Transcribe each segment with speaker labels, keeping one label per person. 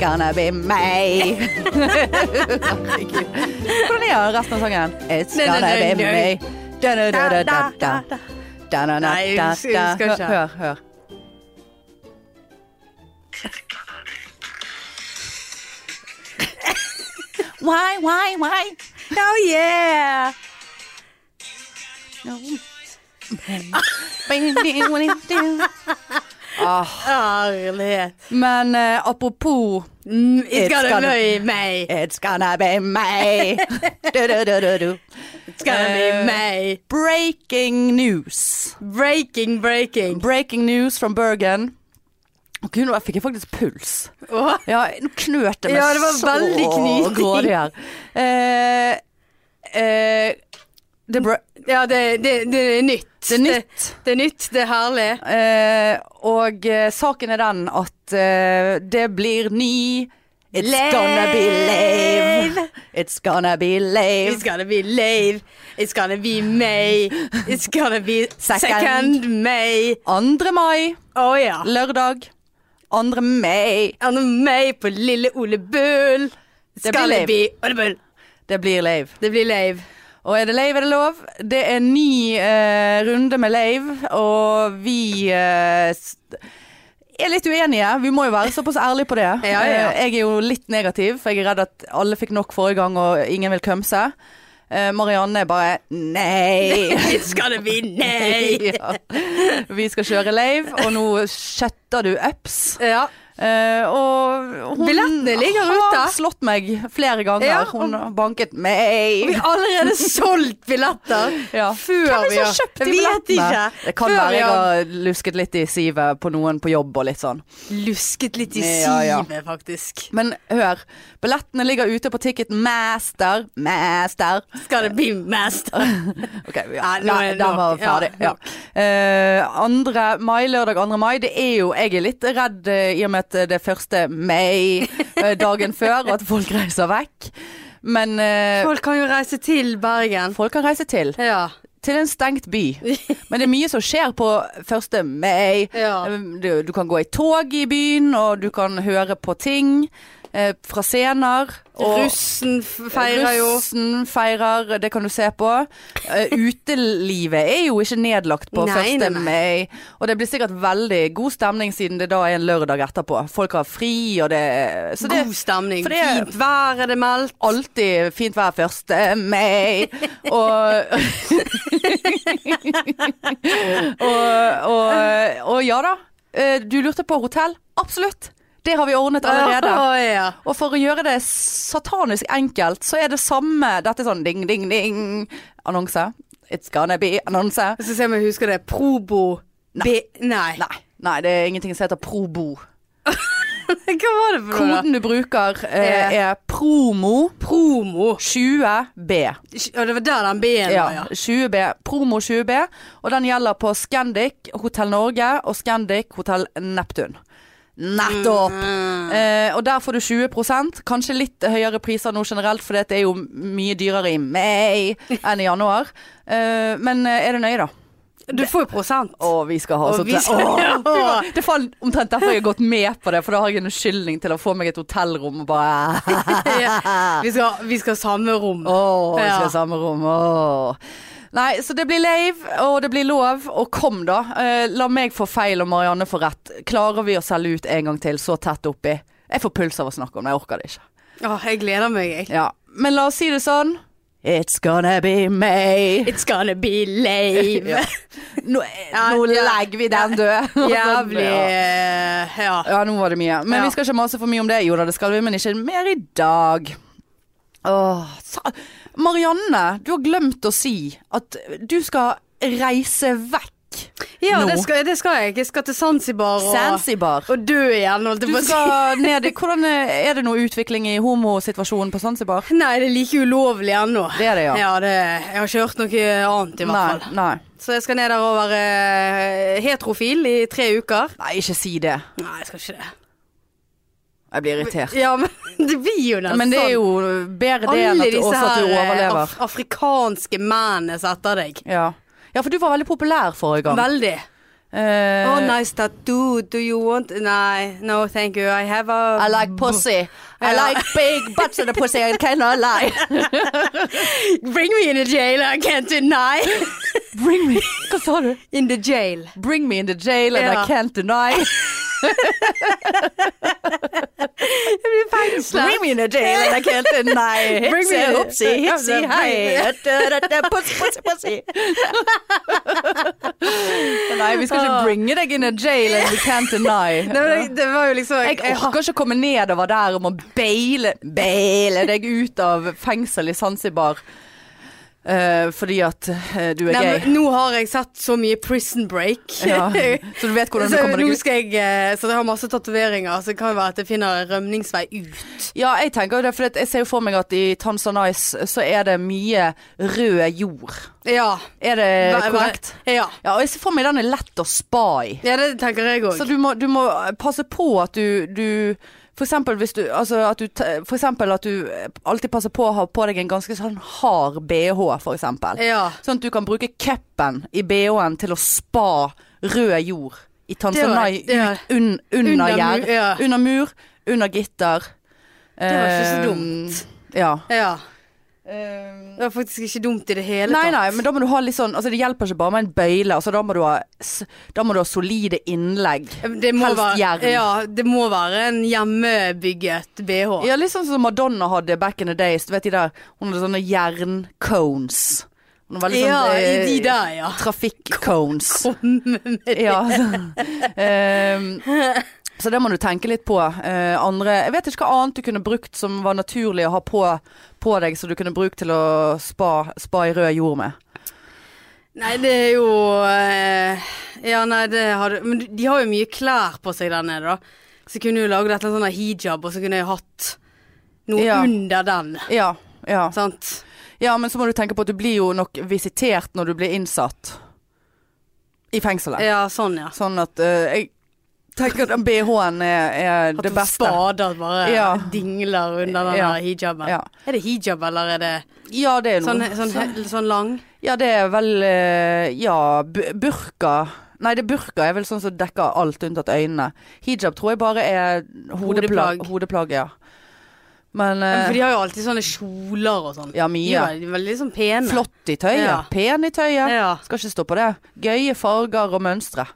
Speaker 1: gonna be me. Herregud. Hvordan er resten av sangen? It's
Speaker 2: Nei, nei,
Speaker 1: gonna
Speaker 2: nei,
Speaker 1: be
Speaker 2: nei.
Speaker 1: me. Da, da, da, da, da, da.
Speaker 2: da.
Speaker 1: Da, da, da,
Speaker 2: Nei, jeg
Speaker 1: da, da.
Speaker 2: husker ikke.
Speaker 1: Hør, hør. Why, why, why?
Speaker 2: Oh
Speaker 1: Eh.
Speaker 2: yeah!
Speaker 1: Ah,
Speaker 2: Herlighet.
Speaker 1: men eh, apropos
Speaker 2: Mm, it's
Speaker 1: It's
Speaker 2: gonna
Speaker 1: gonna-
Speaker 2: be me.
Speaker 1: It's gonna be me. Du, du, du, du, du.
Speaker 2: It's gonna be
Speaker 1: Eh,
Speaker 2: me.
Speaker 1: Breaking news.
Speaker 2: Breaking, breaking.
Speaker 1: Breaking news from Bergen. Og gud, nå fikk jeg faktisk puls.
Speaker 2: Åh,
Speaker 1: Ja, nå knøt jeg meg
Speaker 2: Ja, det var veldig
Speaker 1: så
Speaker 2: knyting.
Speaker 1: grådig her. Eh, eh, det, er bra-
Speaker 2: Ja, det, det, det er nytt.
Speaker 1: det er nytt.
Speaker 2: Det, det er nytt, det er herlig.
Speaker 1: Eh, og eh, saken er den at eh, det blir ny It's gonna be lave. It's gonna be
Speaker 2: It's
Speaker 1: lave.
Speaker 2: gonna be lave. It's gonna be May. It's gonna be second,
Speaker 1: Second.
Speaker 2: May.
Speaker 1: 2. mai,
Speaker 2: Å ja.
Speaker 1: lørdag. 2. mai.
Speaker 2: Anne May på Lille Ole Bull.
Speaker 1: Det blir
Speaker 2: Skal det
Speaker 1: lave.
Speaker 2: bli Ole Bull.
Speaker 1: Det blir lave.
Speaker 2: Det blir lave.
Speaker 1: Og er det lave, er det lov? Det er ny eh, runde med lave, og vi eh, s- er litt uenige. Vi må jo være såpass ærlige på det.
Speaker 2: Ja, ja.
Speaker 1: Eh, Jeg er jo litt negativ, for jeg er redd at alle fikk nok forrige gang og ingen vil kømse. Eh, Marianne er bare nei.
Speaker 2: It's gonna be Nay.
Speaker 1: ja. Vi skal kjøre lave, og nå shutter du ups.
Speaker 2: Ja.
Speaker 1: Eh, og hun
Speaker 2: Billettene ligger
Speaker 1: har
Speaker 2: ute.
Speaker 1: slått meg flere ganger.
Speaker 2: Ja,
Speaker 1: hun har banket meg.
Speaker 2: Vi har allerede solgt billetter.
Speaker 1: Ja.
Speaker 2: Før
Speaker 1: Hvem er det som har
Speaker 2: vi har-
Speaker 1: kjøpt de
Speaker 2: Jeg vet
Speaker 1: billettene?
Speaker 2: ikke.
Speaker 1: Det kan
Speaker 2: Før
Speaker 1: være
Speaker 2: vi
Speaker 1: jeg
Speaker 2: har-
Speaker 1: har lusket litt i sivet på noen på jobb og litt sånn.
Speaker 2: Lusket litt i
Speaker 1: Ja, ja.
Speaker 2: sivet, faktisk.
Speaker 1: Men hør, billettene ligger ute på Ticket Master. Master.
Speaker 2: Skal det bli mester?
Speaker 1: Ok, ja,
Speaker 2: Nei, nå
Speaker 1: nei,
Speaker 2: er det
Speaker 1: den var
Speaker 2: nok. Ja,
Speaker 1: ferdig. Ja, Eh, andre mai, lørdag 2. mai, det er jo Jeg er litt redd eh, i og med at det er første mai eh, dagen før, og at folk reiser vekk. Men eh,
Speaker 2: Folk kan jo reise til Bergen.
Speaker 1: folk kan reise til.
Speaker 2: Ja.
Speaker 1: Til en stengt by. Men det er mye som skjer på 1. mai. Eh,
Speaker 2: Ja.
Speaker 1: Du, du kan gå i tog i byen, og du kan høre på ting eh, fra scener. Og
Speaker 2: Russen f- feirer jo.
Speaker 1: Russen feirer, det kan du se på. Eh, utelivet er jo ikke nedlagt på
Speaker 2: Nei,
Speaker 1: 1.
Speaker 2: nei, nei.
Speaker 1: mai. Og det blir sikkert veldig god stemning siden det da er en lørdag etterpå. Folk har fri, og det Så det
Speaker 2: God stemning.
Speaker 1: for det er-
Speaker 2: Fint vær er det meldt.
Speaker 1: alltid fint vær 1. mai. Og, og, og, og ja da, eh, du lurte på hotell. Absolutt. Det har vi ordnet allerede.
Speaker 2: Å, ja.
Speaker 1: Og for å gjøre det satanisk enkelt, så er det samme Dette er sånn ding, ding, ding. Annonse. It's gonna be annonse.
Speaker 2: Jeg skal se om jeg husker det. Probo Nei. Nei.
Speaker 1: Nei. Nei, det er ingenting som heter probo.
Speaker 2: Hva var det for noe? da?
Speaker 1: Koden du bruker, eh, er promo
Speaker 2: Promo.
Speaker 1: 20B.
Speaker 2: Og det var der den B-en var,
Speaker 1: Ja,
Speaker 2: ja.
Speaker 1: 20B, promo 20B, og den gjelder på Scandic Hotell Norge og Scandic Hotell Neptun. Nettopp! Eh, og der får du 20 kanskje litt høyere priser nå generelt, for det er jo mye dyrere i mai enn i januar. Eh, men eh, er du nøye, da?
Speaker 2: Du får jo prosent.
Speaker 1: Å, vi skal ha
Speaker 2: Og
Speaker 1: sånt.
Speaker 2: vi skal-
Speaker 1: Å, det var- det falt omtrent derfor jeg har gått med på det, for da har jeg en unnskyldning til å få meg et hotellrom og bare
Speaker 2: Ja. Vi skal, vi skal ha samme rom.
Speaker 1: Åh, vi skal
Speaker 2: Ja.
Speaker 1: i samme rom. Åh. Nei, så det blir lave, og det blir lov. Og kom, da. Eh, la meg få feil og Marianne få rett. Klarer vi å selge ut en gang til så tett oppi? Jeg får puls av å snakke om det, jeg orker det ikke.
Speaker 2: Å, jeg gleder meg, jeg.
Speaker 1: Ja. Men la oss si det sånn. It's gonna be me.
Speaker 2: It's gonna be lave.
Speaker 1: Ja. Nå, nå
Speaker 2: Ja, ja.
Speaker 1: legger vi den død.
Speaker 2: Jævlig
Speaker 1: Ja.
Speaker 2: eh, Ja.
Speaker 1: Ja, nå var det mye. Men
Speaker 2: Ja.
Speaker 1: vi skal ikke mase for mye om det. Jo da, det skal vi, men ikke mer i dag. Åh, sa Marianne, du har glemt å si at du skal reise vekk
Speaker 2: Ja,
Speaker 1: nå.
Speaker 2: det skal, det skal jeg. Jeg skal til Zanzibar og,
Speaker 1: Zanzibar.
Speaker 2: og dø igjen. holdt jeg
Speaker 1: Du
Speaker 2: på å si.
Speaker 1: skal ned i Hvordan er det noe utvikling i homosituasjonen på Zanzibar?
Speaker 2: Nei, det er like ulovlig ennå.
Speaker 1: Det er det, ja.
Speaker 2: Ja, det, jeg har ikke hørt noe annet i hvert
Speaker 1: Nei,
Speaker 2: fall.
Speaker 1: nei.
Speaker 2: Så jeg skal ned der og være eh, heterofil i tre uker.
Speaker 1: Nei, ikke si det.
Speaker 2: Nei, jeg skal ikke det.
Speaker 1: Jeg blir irritert.
Speaker 2: Ja, men det blir jo nesten
Speaker 1: Men det er jo bedre det enn
Speaker 2: sånn. Alle
Speaker 1: at du,
Speaker 2: disse
Speaker 1: også at du
Speaker 2: her eh,
Speaker 1: overlever.
Speaker 2: af afrikanske mennene som er etter deg.
Speaker 1: Ja. ja, for du var veldig populær forrige gang.
Speaker 2: Veldig.
Speaker 1: Eh,
Speaker 2: Oh, nice tattoo. Do you want Nei, no, thank you. I have
Speaker 1: I
Speaker 2: a
Speaker 1: like pussy. I
Speaker 2: Ja.
Speaker 1: like big butts in the pussy. I cannot lie.
Speaker 2: Bring me in the jail. I can't deny.
Speaker 1: Bring me Hva sa du?
Speaker 2: In the jail.
Speaker 1: Bring me in the jail and
Speaker 2: Ja.
Speaker 1: I can't deny.
Speaker 2: Jeg blir fengsla.
Speaker 1: Bring me in the jail and I can't deny.
Speaker 2: Bring me-
Speaker 1: Hipsy, hoopsy, hipsy,
Speaker 2: Ja,
Speaker 1: hei. Pussy, pussy, pussy. Nei, vi skal ikke bringe deg in a jail and we can't deny.
Speaker 2: Det, var- det var jo liksom
Speaker 1: Jeg orker ikke å komme nedover der og må beile, beile deg ut av fengsel i Zanzibar eh, fordi at eh, du er
Speaker 2: Nei,
Speaker 1: gay.
Speaker 2: men nå har jeg satt så mye prison break.
Speaker 1: Ja. Så du vet hvordan du
Speaker 2: Så
Speaker 1: kommer
Speaker 2: nå
Speaker 1: deg ut?
Speaker 2: skal jeg eh, Så jeg har masse tatoveringer, så det kan jo være at jeg finner en rømningsvei ut.
Speaker 1: Ja, jeg tenker jo det, for at jeg ser jo for meg at i Tanzanice så er det mye rød jord.
Speaker 2: Ja.
Speaker 1: Er det
Speaker 2: Hva- hva-
Speaker 1: korrekt?
Speaker 2: Ja.
Speaker 1: Ja, og jeg ser for meg den er lett å spa i.
Speaker 2: ja, det tenker jeg
Speaker 1: Så
Speaker 2: òg.
Speaker 1: du må, du må eh, passe på at du, du for eksempel, hvis du, altså at du, te- for eksempel at du eh, alltid passer på å ha på deg en ganske sånn hard BH, for eksempel.
Speaker 2: Ja.
Speaker 1: Sånn at du kan bruke cupen i BH-en til å spa rød jord i Tanzania
Speaker 2: Det var- ja.
Speaker 1: ut- un,
Speaker 2: Under
Speaker 1: under
Speaker 2: mur,
Speaker 1: gjerd.
Speaker 2: ja.
Speaker 1: Under mur, under gitter.
Speaker 2: Det var ikke så
Speaker 1: Eh,
Speaker 2: dumt. Eh,
Speaker 1: Ja.
Speaker 2: Ja. Det var faktisk ikke dumt i det hele
Speaker 1: Nei,
Speaker 2: tatt.
Speaker 1: nei, men da må du ha litt sånn Altså det hjelper ikke bare med en bøyle. Altså, da, må du ha, s- da må du ha solide innlegg.
Speaker 2: Det må
Speaker 1: Helst
Speaker 2: være,
Speaker 1: jern.
Speaker 2: Ja, det må være en hjemmebygget BH.
Speaker 1: Ja, litt sånn som Madonna hadde back in the days. Du vet de der, Hun hadde sånne jerncones. Hun var litt
Speaker 2: Ja,
Speaker 1: sånn
Speaker 2: i de der, ja.
Speaker 1: Trafikk-cones. Ja, så. Ehm, så det må du tenke litt på. Eh, andre Jeg vet ikke hva annet du kunne brukt som var naturlig å ha på, på deg, som du kunne brukt til å spa, spa i rød jord med.
Speaker 2: Nei, det er jo eh, Ja, nei, det har du Men de har jo mye klær på seg der nede, da. Så jeg kunne jo lagd et eller annet sånn hijab, og så kunne jeg hatt noe
Speaker 1: Ja.
Speaker 2: under den.
Speaker 1: Ja, ja.
Speaker 2: Sant?
Speaker 1: ja, men så må du tenke på at du blir jo nok visitert når du blir innsatt i fengselet.
Speaker 2: Ja, sånn, ja.
Speaker 1: Sånn at eh, jeg tenker at den BH-en er, er
Speaker 2: At
Speaker 1: det
Speaker 2: det
Speaker 1: beste.
Speaker 2: spader bare
Speaker 1: Ja.
Speaker 2: dingler under den
Speaker 1: Ja.
Speaker 2: der hijaben.
Speaker 1: Ja.
Speaker 2: Er det hijab, eller er det
Speaker 1: Ja, det er noe.
Speaker 2: sånn, sånn, sånn, lang?
Speaker 1: Ja, det er vel eh, Ja, bu- burka Nei, det burka er vel sånn som dekker alt unntatt øynene. Hijab tror jeg bare er hodeplag.
Speaker 2: Hodeplagg.
Speaker 1: Hodeplag, ja. Men
Speaker 2: Ja,
Speaker 1: eh,
Speaker 2: For de har jo alltid sånne kjoler og sånn.
Speaker 1: Ja,
Speaker 2: De er
Speaker 1: mye.
Speaker 2: veldig, veldig sånn pene.
Speaker 1: Flott i tøyet.
Speaker 2: Ja.
Speaker 1: Pen i tøyet.
Speaker 2: Ja.
Speaker 1: Skal ikke stå på det. Gøye farger og mønstre.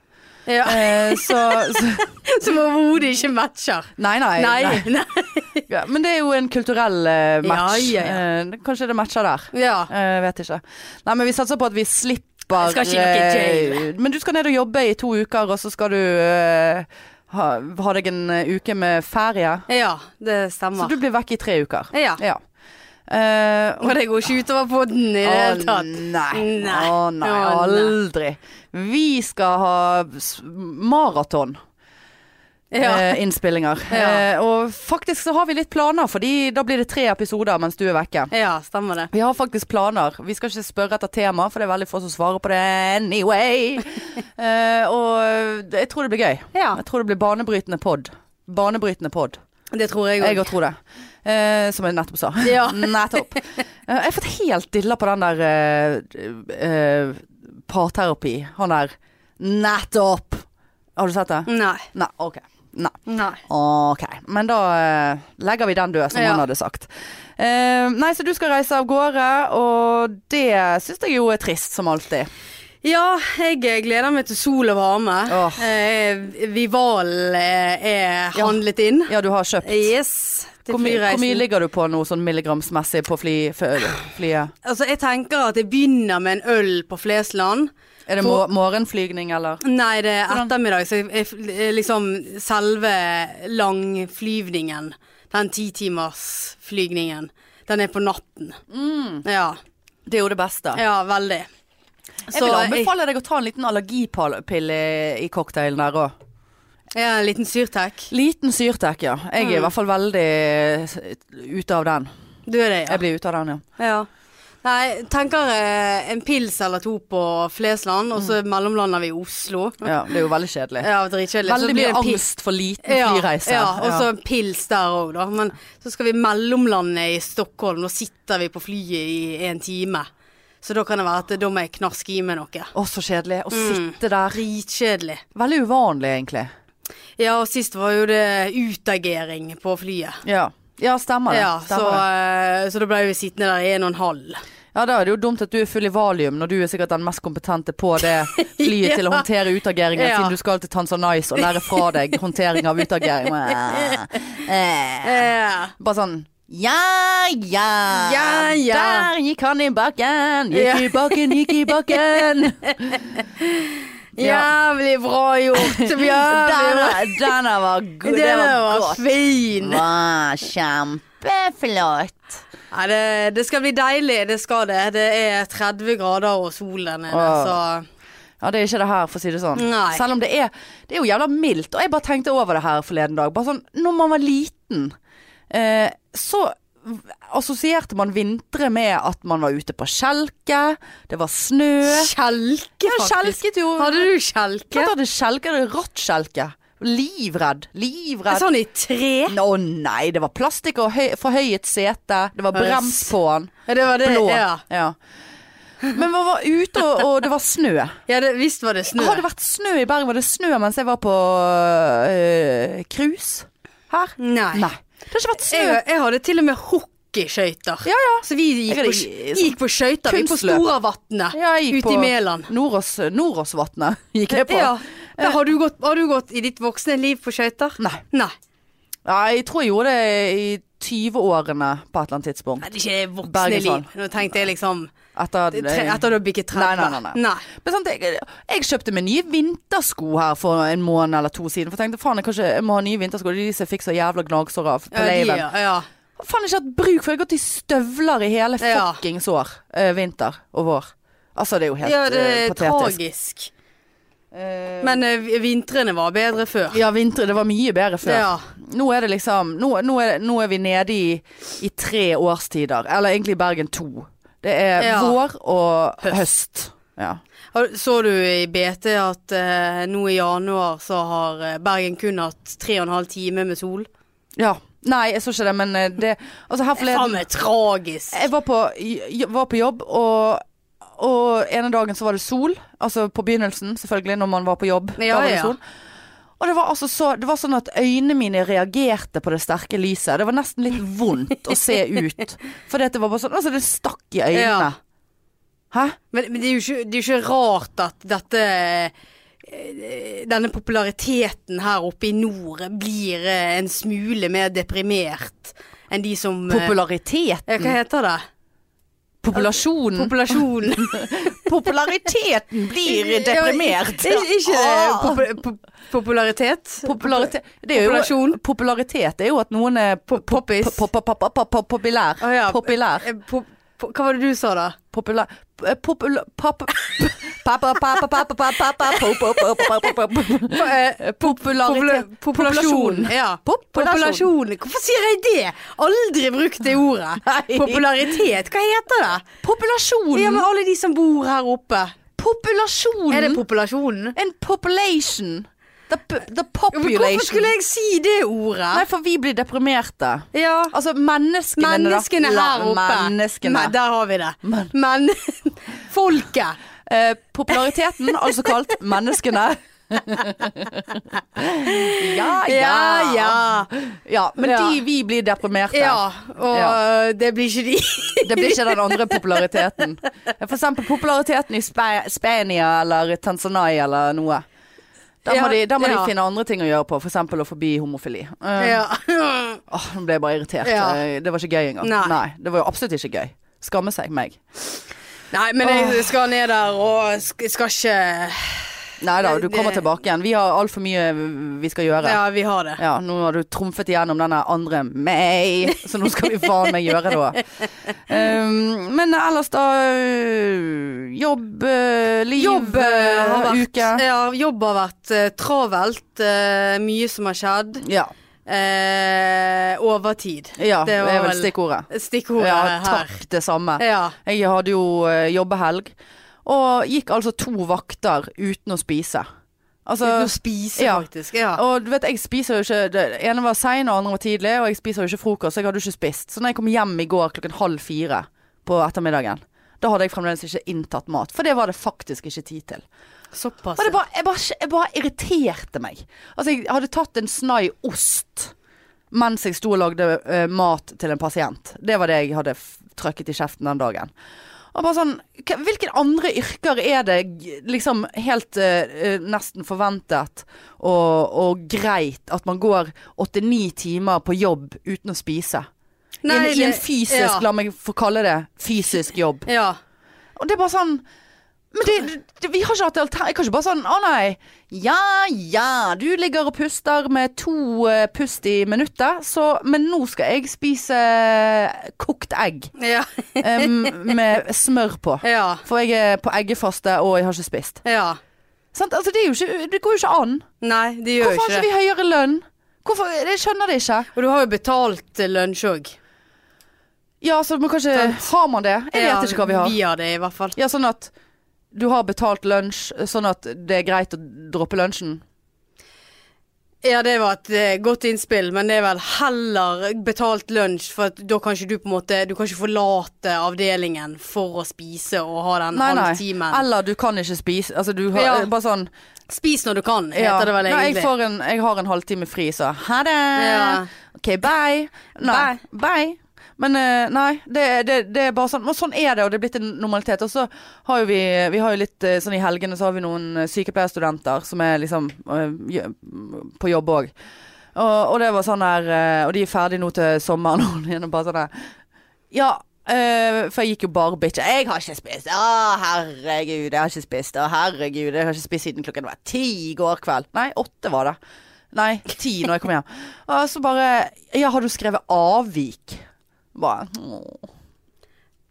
Speaker 2: Ja.
Speaker 1: Eh, så, så
Speaker 2: Som overhodet ikke matcher.
Speaker 1: Nei, nei.
Speaker 2: Nei.
Speaker 1: nei.
Speaker 2: nei.
Speaker 1: Ja, men det er jo en kulturell eh, match.
Speaker 2: Ja, ja,
Speaker 1: Eh, kanskje det matcher der.
Speaker 2: Ja.
Speaker 1: Eh, vet ikke. Nei, men vi satser på at vi slipper
Speaker 2: Jeg skal ikke nok i jail.
Speaker 1: eh, Men du skal ned og jobbe i to uker, og så skal du eh, ha, ha deg en eh, uke med ferie.
Speaker 2: ja, det
Speaker 1: Så
Speaker 2: stemmer.
Speaker 1: du blir vekk i tre uker.
Speaker 2: Ja.
Speaker 1: Ja. Eh,
Speaker 2: Og det går ikke utover podden i det hele
Speaker 1: å
Speaker 2: tatt.
Speaker 1: nei.
Speaker 2: Nei.
Speaker 1: Å nei,
Speaker 2: Å,
Speaker 1: aldri. Vi skal ha s- maraton.
Speaker 2: Ja.
Speaker 1: Eh, innspillinger.
Speaker 2: Ja.
Speaker 1: Eh, og faktisk så har vi litt planer, Fordi da blir det tre episoder mens du er vekke.
Speaker 2: ja, stemmer det.
Speaker 1: Vi har faktisk planer. Vi skal ikke spørre etter tema, for det er veldig få som svarer på det anyway. Eh, og jeg tror det blir gøy.
Speaker 2: Ja.
Speaker 1: Jeg tror det blir banebrytende pod. Banebrytende pod.
Speaker 2: Det tror jeg
Speaker 1: Jeg
Speaker 2: òg.
Speaker 1: òg tror det. Eh, som jeg nettopp sa.
Speaker 2: Ja.
Speaker 1: Nettopp. Eh, jeg har fått helt dilla på den der eh, eh, parterapi. Han der Nettopp! Har du sett det?
Speaker 2: Nei.
Speaker 1: Nei. OK. Nei.
Speaker 2: Nei.
Speaker 1: Ok, men da eh, legger vi den død, som
Speaker 2: Ja.
Speaker 1: han hadde sagt. Eh, nei, så du skal reise av gårde, og det syns jeg jo er trist, som alltid.
Speaker 2: Ja, jeg eh, gleder meg til sol og varme.
Speaker 1: Åh.
Speaker 2: Eh, Vivalen eh, er handlet inn.
Speaker 1: Ja, du har kjøpt.
Speaker 2: Yes. Til
Speaker 1: Hvor, my hvor mye
Speaker 2: flyreisen.
Speaker 1: ligger du på nå, sånn milligramsmessig på fly, fø- flyet?
Speaker 2: Altså, jeg tenker at jeg begynner med en øl på Flesland.
Speaker 1: Er det mor morgenflygning, eller?
Speaker 2: Nei, det er
Speaker 1: Hvordan-
Speaker 2: ettermiddag, så jeg, jeg, liksom selve langflyvningen, den titimersflygningen, den er på natten.
Speaker 1: Mm.
Speaker 2: Ja,
Speaker 1: Det er jo det beste.
Speaker 2: ja, veldig.
Speaker 1: jeg vil anbefale deg å ta en liten allergipille i cocktailen der òg.
Speaker 2: jeg er en liten syrtek.
Speaker 1: Liten syrtek, ja. Jeg er i hvert fall veldig eh, ute av den.
Speaker 2: Du er det, ja.
Speaker 1: Jeg blir ute av den, ja.
Speaker 2: ja. Nei, tenker eh, en pils eller to på Flesland, og
Speaker 1: Mm.
Speaker 2: så mellomlander vi i Oslo.
Speaker 1: ja. Det er jo veldig kjedelig.
Speaker 2: Ja, dritkjedelig. Så
Speaker 1: Veldig
Speaker 2: blir det
Speaker 1: mye
Speaker 2: en pils-
Speaker 1: angst for liten flyreise.
Speaker 2: Ja, og så en pils der òg, da. Men så skal vi mellomlande i Stockholm. Nå sitter vi på flyet i en time. Så da kan det være at eh, da må jeg knaske i meg noe.
Speaker 1: Å, så kjedelig. Å
Speaker 2: Mm.
Speaker 1: sitte der.
Speaker 2: Dritkjedelig.
Speaker 1: Veldig uvanlig, egentlig.
Speaker 2: Ja, og sist var jo det utagering på flyet.
Speaker 1: Ja, ja stemmer det.
Speaker 2: Ja, så,
Speaker 1: stemmer det.
Speaker 2: eh, så da ble vi sittende der i en og en halv.
Speaker 1: ja, da er det jo dumt at du er full i valium, når du er sikkert den mest kompetente på det flyet til å håndtere utageringen,
Speaker 2: Ja.
Speaker 1: siden du skal til Tanzanice og lære fra deg håndtering av utagering. Eh, eh.
Speaker 2: Eh,
Speaker 1: Bare sånn ja, ja,
Speaker 2: Ja, ja.
Speaker 1: Der gikk han i bakken, gikk
Speaker 2: Ja.
Speaker 1: i bakken, gikk i bakken. Ja.
Speaker 2: Jævlig bra gjort, Bjørn.
Speaker 1: Denne, denne var god. Det var godt. Mm.
Speaker 2: fin.
Speaker 1: Wow, kjempeflott.
Speaker 2: Nei, det, det skal bli deilig, det skal det. Det er 30 grader og sol der nede,
Speaker 1: Åh.
Speaker 2: så
Speaker 1: Ja, det er ikke det her, for å si det sånn.
Speaker 2: Nei.
Speaker 1: Selv om det er Det er jo jævla mildt. Og jeg bare tenkte over det her forleden dag. Bare sånn Når man var liten, eh, så v- assosierte man vintre med at man var ute på skjelke, det var snø.
Speaker 2: Kjelke,
Speaker 1: Jeg
Speaker 2: faktisk.
Speaker 1: skjelket jo.
Speaker 2: Hadde du kjelke?
Speaker 1: Klart hadde skjelke, det er rått skjelke. Livredd. Livredd.
Speaker 2: Sånn i tre?
Speaker 1: Å nei, det var plastikk og høy, forhøyet sete. Det var
Speaker 2: Yes.
Speaker 1: brems på den.
Speaker 2: Ja, det var det.
Speaker 1: Blå.
Speaker 2: Ja,
Speaker 1: Ja. Men man var ute, og, og det var snø.
Speaker 2: ja det, visst var det snø.
Speaker 1: Har det vært snø i Bergen? Var det snø mens jeg var på øh, cruise her?
Speaker 2: Nei.
Speaker 1: Nei. Det har ikke vært snø.
Speaker 2: Jeg, jeg hadde til og med hockeyskøyter.
Speaker 1: Ja, ja.
Speaker 2: Så vi gikk
Speaker 1: Jeg
Speaker 2: på,
Speaker 1: hadde-
Speaker 2: gikk på skøyter. Vi på
Speaker 1: Kunstløp.
Speaker 2: Storavatnet
Speaker 1: Ja, jeg gikk
Speaker 2: ute
Speaker 1: på-
Speaker 2: i Mæland.
Speaker 1: Nordås, Nordåsvatnet gikk jeg på.
Speaker 2: Ja. Der har, du gått, har du gått i ditt voksne liv på skøyter?
Speaker 1: Nei.
Speaker 2: Nei.
Speaker 1: Ja, jeg tror jeg gjorde det i 20-årene på et eller annet tidspunkt.
Speaker 2: Nei, det er ikke det voksne
Speaker 1: Bergenfall.
Speaker 2: liv. Nå tenkte jeg liksom
Speaker 1: Etter,
Speaker 2: tre, Etter du har bikket 30.
Speaker 1: Nei, nei, nei, nei. Men sant, jeg, jeg kjøpte meg nye vintersko her for en måned eller to siden. For jeg tenkte faen, jeg, kan ikke, jeg må ha nye vintersko. Det er de som jeg fikk så jævla gnagsår av på
Speaker 2: Ja, de,
Speaker 1: laven.
Speaker 2: ja, ja.
Speaker 1: Har faen ikke hatt bruk for. Jeg har gått i støvler i hele
Speaker 2: Ja.
Speaker 1: fuckings år. eh, vinter og vår. Altså, det er jo helt
Speaker 2: ja, det
Speaker 1: eh,
Speaker 2: er
Speaker 1: patetisk.
Speaker 2: tragisk. Men eh, vi- vintrene var bedre før.
Speaker 1: Ja, vinter, det var mye bedre før.
Speaker 2: Ja.
Speaker 1: Nå er det liksom Nå, nå, er, det, nå er vi nede i, i tre årstider. Eller egentlig i Bergen to. Det er
Speaker 2: Ja.
Speaker 1: vår og
Speaker 2: Høst.
Speaker 1: høst. Ja.
Speaker 2: Har- Så du i BT at eh, nå i januar så har eh, Bergen kun hatt tre og en halv time med sol?
Speaker 1: ja. Nei, jeg så ikke det, men eh, det Altså, her forleden
Speaker 2: Faen meg tragisk!
Speaker 1: Jeg var på, jeg var på jobb, og, og ene dagen så var det sol. Altså på begynnelsen, selvfølgelig, når man var på jobb.
Speaker 2: Ja,
Speaker 1: da var det
Speaker 2: ja.
Speaker 1: sol. Og det var, altså så, det var sånn at øynene mine reagerte på det sterke lyset. Det var nesten litt vondt å se ut. For det var bare sånn Altså, det stakk i øynene.
Speaker 2: Ja.
Speaker 1: Hæ?
Speaker 2: Men, men det, er jo ikke, det er jo ikke rart at dette eh, denne populariteten her oppe i nord blir eh, en smule mer deprimert enn de som eh, ja,
Speaker 1: Populariteten.
Speaker 2: Hva heter det?
Speaker 1: Populasjonen.
Speaker 2: Populasjonen.
Speaker 1: Populariteten blir Ah.
Speaker 2: Ja, Ikke, ikke
Speaker 1: Åh.
Speaker 2: det. Popu- pop- popularitet.
Speaker 1: Popularitet det er jo,
Speaker 2: Populasjon.
Speaker 1: Popularitet er jo at noen er po- po-
Speaker 2: Poppis.
Speaker 1: po- po- po- po- po- Populær.
Speaker 2: Å ja.
Speaker 1: Populær.
Speaker 2: Eh, po- po- Hva var det du sa da?
Speaker 1: Populær Populær Popularitet.
Speaker 2: Po- eh, popula- Populasjon. Ja.
Speaker 1: Populasjon.
Speaker 2: Populasjon. Hvorfor sier jeg det? Aldri brukt det ordet.
Speaker 1: Nei.
Speaker 2: Popularitet. Hva heter det? Ja, men
Speaker 1: Populasjonen.
Speaker 2: alle de som bor her oppe. Er det
Speaker 1: Populasjonen.
Speaker 2: populasjonen?
Speaker 1: En population. The, p- the
Speaker 2: Ja, men Hvorfor skulle
Speaker 1: population.
Speaker 2: jeg si det ordet?
Speaker 1: Nei, for vi blir deprimerte.
Speaker 2: Ja.
Speaker 1: Altså menneskene da.
Speaker 2: Menneskene
Speaker 1: La-
Speaker 2: her oppe.
Speaker 1: Menneskene.
Speaker 2: Men, der har vi det. Men folket.
Speaker 1: Eh, populariteten, altså kalt menneskene. ja, ja,
Speaker 2: Ah, Ja, ja.
Speaker 1: Ja, men
Speaker 2: Ja.
Speaker 1: de vi blir deprimerte.
Speaker 2: Ja, og
Speaker 1: Ja.
Speaker 2: øh, det blir ikke de.
Speaker 1: Det blir ikke den andre populariteten. For eksempel populariteten i Spa- Spania eller Tanzania eller noe. Da må,
Speaker 2: Ja,
Speaker 1: de, da må
Speaker 2: ja.
Speaker 1: de finne andre ting å gjøre på, for eksempel å forby homofili. Eh,
Speaker 2: ja.
Speaker 1: Åh, nå ble jeg bare irritert.
Speaker 2: Ja.
Speaker 1: Eh, Det var ikke gøy engang.
Speaker 2: Nei.
Speaker 1: det var jo absolutt ikke gøy. Skamme seg meg.
Speaker 2: Nei, men jeg skal ned der og sk- skal ikke
Speaker 1: Nei da, du
Speaker 2: Det-
Speaker 1: kommer tilbake igjen. Vi har altfor mye vi skal gjøre.
Speaker 2: Ja, vi har det.
Speaker 1: Ja, nå har du trumfet igjennom denne andre meg, så nå skal vi faen meg gjøre det. Um, men ellers da øh, Jobb, øh, liv,
Speaker 2: Jobb øh, har
Speaker 1: øh,
Speaker 2: vært,
Speaker 1: uke.
Speaker 2: ja, jobb har vært øh, travelt. øh, mye som har skjedd.
Speaker 1: Ja,
Speaker 2: Eh, overtid.
Speaker 1: ja det,
Speaker 2: Det var
Speaker 1: er vel
Speaker 2: vel-
Speaker 1: stikkordet.
Speaker 2: Stikkordet
Speaker 1: Ja,
Speaker 2: her.
Speaker 1: takk, det samme.
Speaker 2: Ja.
Speaker 1: Jeg hadde jo øh, jobbehelg, og gikk altså to vakter uten å spise. Altså,
Speaker 2: Uten å spise,
Speaker 1: ja.
Speaker 2: faktisk. Ja.
Speaker 1: Og du vet, jeg spiser jo ikke Det ene var sein, og andre var tidlig, og jeg spiser jo ikke frokost, så jeg hadde jo ikke spist. Så når jeg kom hjem i går klokken halv fire på ettermiddagen Da hadde jeg fremdeles ikke inntatt mat, for det var det faktisk ikke tid til.
Speaker 2: Såpass.
Speaker 1: Og det bare, jeg, bare, jeg bare irriterte meg. Altså, jeg hadde tatt en snai ost mens jeg sto og lagde eh, mat til en pasient. Det var det jeg hadde f- trøkket i kjeften den dagen. Og bare sånn, hva- Hvilke andre yrker er det g- liksom helt eh, eh, nesten forventet og, og greit at man går åtte-ni timer på jobb uten å spise? I, en, I en
Speaker 2: det-
Speaker 1: fysisk,
Speaker 2: ja.
Speaker 1: la meg få kalle det, fysisk jobb.
Speaker 2: ja.
Speaker 1: Og det er bare sånn men det, det, vi har ikke hatt alternativ. Jeg kan ikke bare sånn Å nei. Ja ja, du ligger og puster med to eh, pust i minuttet, så Men nå skal jeg spise eh, kokt egg
Speaker 2: Ja.
Speaker 1: eh, m- med smør på.
Speaker 2: Ja.
Speaker 1: For jeg er på eggefaste, og jeg har ikke spist.
Speaker 2: ja.
Speaker 1: Sant? Altså, det, er jo ikke, det går jo ikke an.
Speaker 2: Nei, det gjør
Speaker 1: Hvorfor har
Speaker 2: ikke
Speaker 1: ikke
Speaker 2: det.
Speaker 1: vi høyere lønn? Hvorfor, jeg skjønner det ikke.
Speaker 2: Og du har jo betalt eh, lunsj òg.
Speaker 1: Ja, så men kanskje Har man det? Jeg vet ikke hva vi har.
Speaker 2: Vi har det i hvert fall.
Speaker 1: Ja, sånn at du har betalt lunsj, sånn at det er greit å droppe lunsjen.
Speaker 2: Ja, det var et eh, godt innspill, men det er vel heller betalt lunsj, for at da kan ikke du på en måte Du kan ikke forlate avdelingen for å spise og ha den
Speaker 1: Nei,
Speaker 2: halve
Speaker 1: nei.
Speaker 2: timen.
Speaker 1: Eller du kan ikke spise Altså du har
Speaker 2: Ja.
Speaker 1: bare sånn
Speaker 2: Spis når du kan, heter
Speaker 1: ja.
Speaker 2: det vel
Speaker 1: Nei, jeg,
Speaker 2: egentlig.
Speaker 1: får en, jeg har en halvtime fri, så ha det.
Speaker 2: Ja.
Speaker 1: OK, bye. Nei, bye. Men eh, nei, det, det, det er bare sånn. Men sånn er det, og det er blitt en normalitet. Og så har jo vi, vi har jo litt eh, sånn i helgene så har vi noen eh, sykepleierstudenter som er liksom eh, gjø- på jobb òg. Og, og det var sånn her eh, Og de er ferdige nå til sommeren. Og de er bare sånn her Ja, eh, for jeg gikk jo bare bitch. Jeg har ikke spist. Å, herregud, jeg har ikke spist. Å, herregud, jeg har ikke spist siden klokken var ti i går kveld. Nei, åtte var det. Nei, ti når jeg kom hjem. Og så bare Ja, har du skrevet avvik? Bare åh.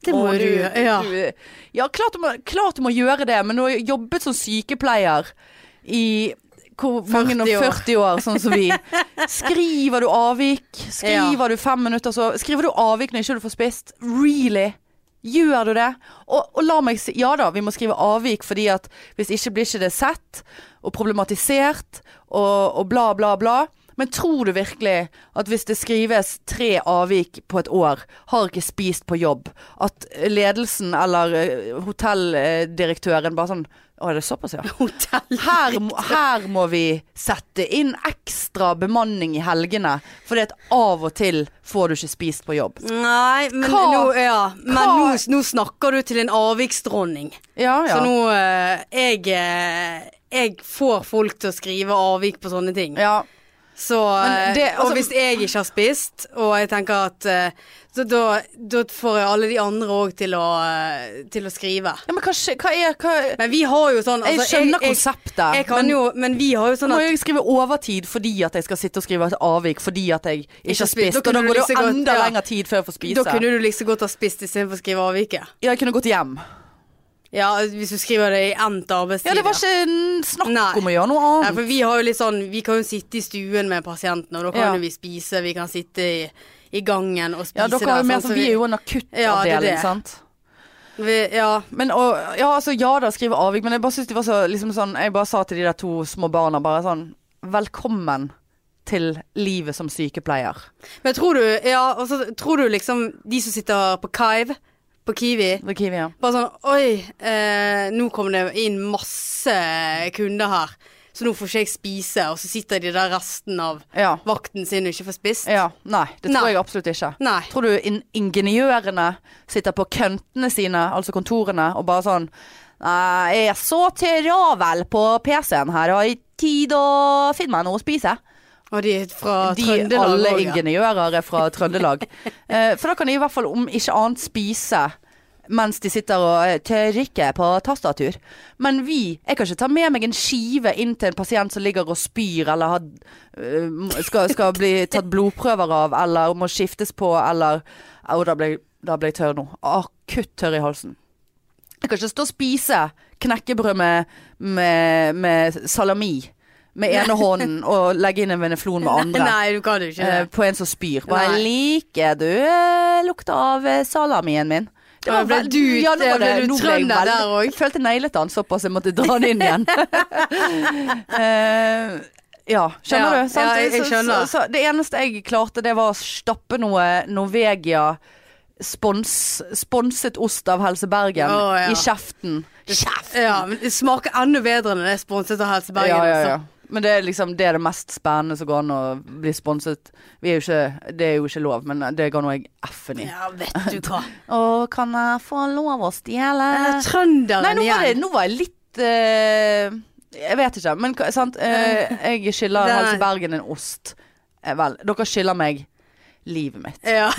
Speaker 2: Det må
Speaker 1: Åh,
Speaker 2: du gjøre. Ja.
Speaker 1: du- ja, klart du, må, klart du må gjøre det, men du har jo jobbet som sykepleier i hvor mange
Speaker 2: 40
Speaker 1: og
Speaker 2: år.
Speaker 1: 40 år, sånn som vi. Skriver du avvik? Skriver du fem minutter så Skriver du avvik når ikke du får spist? Really? Gjør du det? Og, og la meg si Ja da, vi må skrive avvik, fordi at hvis ikke blir ikke det sett og problematisert og, og bla, bla, bla. Men tror du virkelig at hvis det skrives tre avvik på et år, har ikke spist på jobb, at ledelsen eller eh, hotelldirektøren bare sånn Å, er det såpass, ja?
Speaker 2: Hotell.
Speaker 1: her, må- her må vi sette inn ekstra bemanning i helgene, fordi at av og til får du ikke spist på jobb.
Speaker 2: Nei, men,
Speaker 1: Hva?
Speaker 2: nå, ja. men
Speaker 1: Hva?
Speaker 2: nå, nå snakker du til en avviksdronning.
Speaker 1: Ja, ja.
Speaker 2: Så nå eh, jeg, eh, jeg får folk til å skrive avvik på sånne ting.
Speaker 1: ja.
Speaker 2: Så,
Speaker 1: Men det-
Speaker 2: eh, og
Speaker 1: altså-
Speaker 2: hvis jeg ikke har spist, og jeg tenker at eh, så da, da får jeg alle de andre òg til, å, eh, til å skrive.
Speaker 1: ja men hva, skje- hva er hva,
Speaker 2: Men vi har jo sånn
Speaker 1: Jeg
Speaker 2: altså,
Speaker 1: skjønner
Speaker 2: jeg,
Speaker 1: konseptet,
Speaker 2: Jeg, jeg kan
Speaker 1: men-
Speaker 2: jo, men vi har jo
Speaker 1: Nå
Speaker 2: sånn
Speaker 1: må
Speaker 2: at
Speaker 1: jeg skrive overtid fordi at jeg skal sitte og skrive et avvik fordi at jeg ikke,
Speaker 2: Ikke
Speaker 1: har
Speaker 2: har spist.
Speaker 1: spist.
Speaker 2: Da
Speaker 1: Og da
Speaker 2: kunne du
Speaker 1: går det
Speaker 2: like
Speaker 1: jo
Speaker 2: så godt-
Speaker 1: enda
Speaker 2: ja.
Speaker 1: lenger tid før jeg får spise.
Speaker 2: da kunne du like så godt ha spist istedenfor å skrive avviket.
Speaker 1: Ja, jeg kunne gått hjem.
Speaker 2: Ja, hvis du skriver det i endt arbeidstid.
Speaker 1: Ja, det var
Speaker 2: ja.
Speaker 1: ikke en snakk
Speaker 2: Nei.
Speaker 1: om å gjøre noe
Speaker 2: Nei,
Speaker 1: annet.
Speaker 2: for vi har jo litt sånn Vi kan jo sitte i stuen med pasienten, og da kan
Speaker 1: Ja.
Speaker 2: jo vi spise. Vi kan sitte i, i gangen og spise
Speaker 1: Ja, dere har
Speaker 2: der.
Speaker 1: jo mer
Speaker 2: sånn
Speaker 1: sånn,
Speaker 2: som
Speaker 1: vi er jo en
Speaker 2: Ja, det er
Speaker 1: akuttavdeling,
Speaker 2: det.
Speaker 1: sant?
Speaker 2: vi, Ja.
Speaker 1: Men og, ja, altså, ja da, skrive avvik, men jeg bare synes det var så liksom sånn Jeg bare sa til de der to små barna bare sånn Velkommen til livet som sykepleier.
Speaker 2: Men tror du Ja, og så tror du liksom De som sitter på Kive, på Kiwi
Speaker 1: Det er Kiwi, ja.
Speaker 2: Bare sånn Oi, eh, nå kom det inn masse kunder her, så nå får ikke jeg spise. Og så sitter de der resten av
Speaker 1: Ja.
Speaker 2: vakten sin og ikke får spist.
Speaker 1: ja. Nei, det tror
Speaker 2: Nei.
Speaker 1: jeg absolutt ikke.
Speaker 2: Nei.
Speaker 1: Tror du in ingeniørene sitter på køntene sine, altså kontorene, og bare sånn Nei, jeg er så travel på PC-en her, har jeg tid å finne meg noe å spise?
Speaker 2: Og de er fra
Speaker 1: De,
Speaker 2: Trøndelag
Speaker 1: alle
Speaker 2: også, ja.
Speaker 1: ingeniører er fra Trøndelag. Eh, for da kan de i hvert fall om ikke annet spise mens de sitter og eh, trykker på tastatur. Men vi Jeg kan ikke ta med meg en skive inn til en pasient som ligger og spyr, eller har, eh, må- skal, skal bli tatt blodprøver av, eller må skiftes på, eller Au, da ble, da ble jeg tørr nå. Akutt tørr i halsen. Jeg kan ikke stå og spise knekkebrød med, med, med salami med ene hånden og legge inn en veneflon med andre.
Speaker 2: Nei, du kan jo ikke
Speaker 1: Eh,
Speaker 2: det.
Speaker 1: på en som spyr. Bare
Speaker 2: Nei.
Speaker 1: liker du eh, lukta av eh, salamien min? Det
Speaker 2: Ja, ble
Speaker 1: veld-
Speaker 2: du-
Speaker 1: nå var
Speaker 2: ble du
Speaker 1: nå ble jeg
Speaker 2: trønder
Speaker 1: veldig-
Speaker 2: der også?
Speaker 1: Jeg følte jeg nailet han såpass jeg måtte dra den inn igjen. Eh, ja, skjønner
Speaker 2: Ja,
Speaker 1: du? Sant?
Speaker 2: ja, jeg- jeg
Speaker 1: Så-
Speaker 2: skjønner.
Speaker 1: Så, så, det eneste jeg klarte, det var å stappe noe Norvegia spons, sponset ost av Helse Bergen
Speaker 2: Å, ja.
Speaker 1: i kjeften. Kjeft!
Speaker 2: Ja, men det smaker enda bedre når det er sponset av Helse Bergen.
Speaker 1: Ja, ja, ja.
Speaker 2: altså.
Speaker 1: Men det er liksom det, er det mest spennende som går an å bli sponset. Vi er jo ikke, det er jo ikke lov, men det ga nå jeg f-en i.
Speaker 2: ja, vet du hva.
Speaker 1: Og kan jeg få lov å stjele
Speaker 2: Eh, Trønderen
Speaker 1: Nei, nå var, det,
Speaker 2: igjen.
Speaker 1: nå var jeg litt eh, Jeg vet ikke, men hva- sant eh, Jeg skylder
Speaker 2: Det er-
Speaker 1: Helse Bergen en ost. Eh, vel, dere skylder meg livet mitt.
Speaker 2: Ja.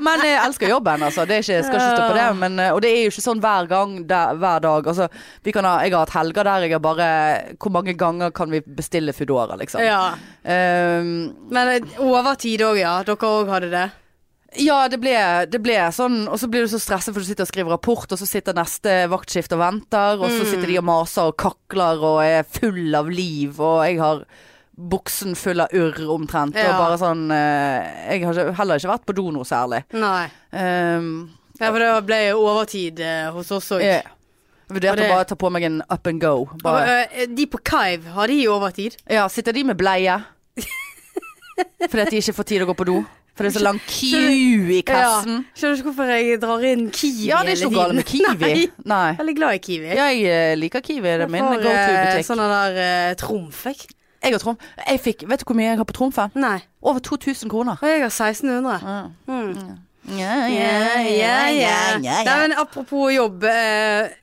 Speaker 1: Men jeg elsker jobben, altså. Det er ikke, jeg skal ikke stå på det. Men, eh, og det er jo ikke sånn hver gang, der, hver dag. Altså, vi kan ha, jeg har hatt helger der jeg har bare Hvor mange ganger kan vi bestille Foodora, liksom?
Speaker 2: ja.
Speaker 1: Eh,
Speaker 2: Men eh, overtid òg, ja. Dere òg hadde det.
Speaker 1: Ja, det ble, det ble sånn, og så blir du så stresset for du sitter og skriver rapport, og så sitter neste vaktskift og venter, og så sitter de og maser og kakler og er full av liv, og jeg har buksen full av urr omtrent, og
Speaker 2: Ja.
Speaker 1: bare sånn eh, Jeg har ikke- heller ikke vært på do noe særlig.
Speaker 2: Nei.
Speaker 1: Um,
Speaker 2: Ja, for det ble overtid eh, hos oss òg.
Speaker 1: jeg
Speaker 2: Og
Speaker 1: vurderte
Speaker 2: det-
Speaker 1: å bare ta på meg en up and go. Bare.
Speaker 2: eh, De på Kaiv, har de overtid?
Speaker 1: Ja, sitter de med bleie? Fordi at de ikke får tid å gå på do? For det er så lang queue i kassen?
Speaker 2: Ja. Skjønner ikke hvorfor jeg drar inn Kiwi
Speaker 1: Ja, det er ikke noe galt med Kiwi.
Speaker 2: Nei.
Speaker 1: Nei.
Speaker 2: Jeg er veldig glad i Kiwi.
Speaker 1: Ja, jeg eh, liker Kiwi. Det er min
Speaker 2: For,
Speaker 1: go
Speaker 2: eh,
Speaker 1: to-butikk.
Speaker 2: Sånn der eh, trumf, jeg.
Speaker 1: Jeg og Trumf jeg fikk, Vet du hvor mye jeg har på Trumfen?
Speaker 2: Nei.
Speaker 1: Over 2000 kroner.
Speaker 2: Og jeg har 1600. Mm.
Speaker 1: Ja,
Speaker 2: Ja, ja, ja. Nei, men apropos jobb. eh,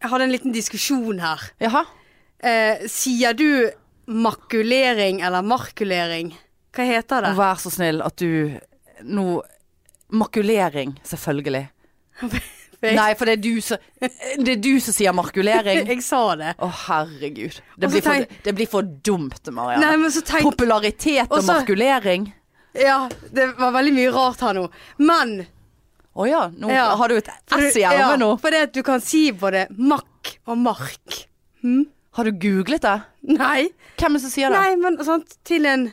Speaker 2: Jeg hadde en liten diskusjon her.
Speaker 1: Jaha.
Speaker 2: Eh, sier du makulering eller markulering? Hva heter det?
Speaker 1: Vær så snill at du nå Makulering, selvfølgelig.
Speaker 2: Jeg-
Speaker 1: Nei, for det er du som Det er du som sier markulering.
Speaker 2: Jeg sa det.
Speaker 1: Å, herregud.
Speaker 2: Og
Speaker 1: Det
Speaker 2: så
Speaker 1: blir, for,
Speaker 2: tenk-
Speaker 1: det blir for dumt,
Speaker 2: Nei,
Speaker 1: Marianne.
Speaker 2: men så tenk
Speaker 1: Popularitet
Speaker 2: Og
Speaker 1: og
Speaker 2: så-
Speaker 1: markulering.
Speaker 2: Ja, det var veldig mye rart her nå. Men
Speaker 1: Å ja, nå
Speaker 2: Ja.
Speaker 1: har du et S i
Speaker 2: ja,
Speaker 1: ermet nå.
Speaker 2: For det at du kan si både makk og mark.
Speaker 1: Har du googlet det?
Speaker 2: Nei.
Speaker 1: Hvem er det som sier det?
Speaker 2: Nei, men sant, til en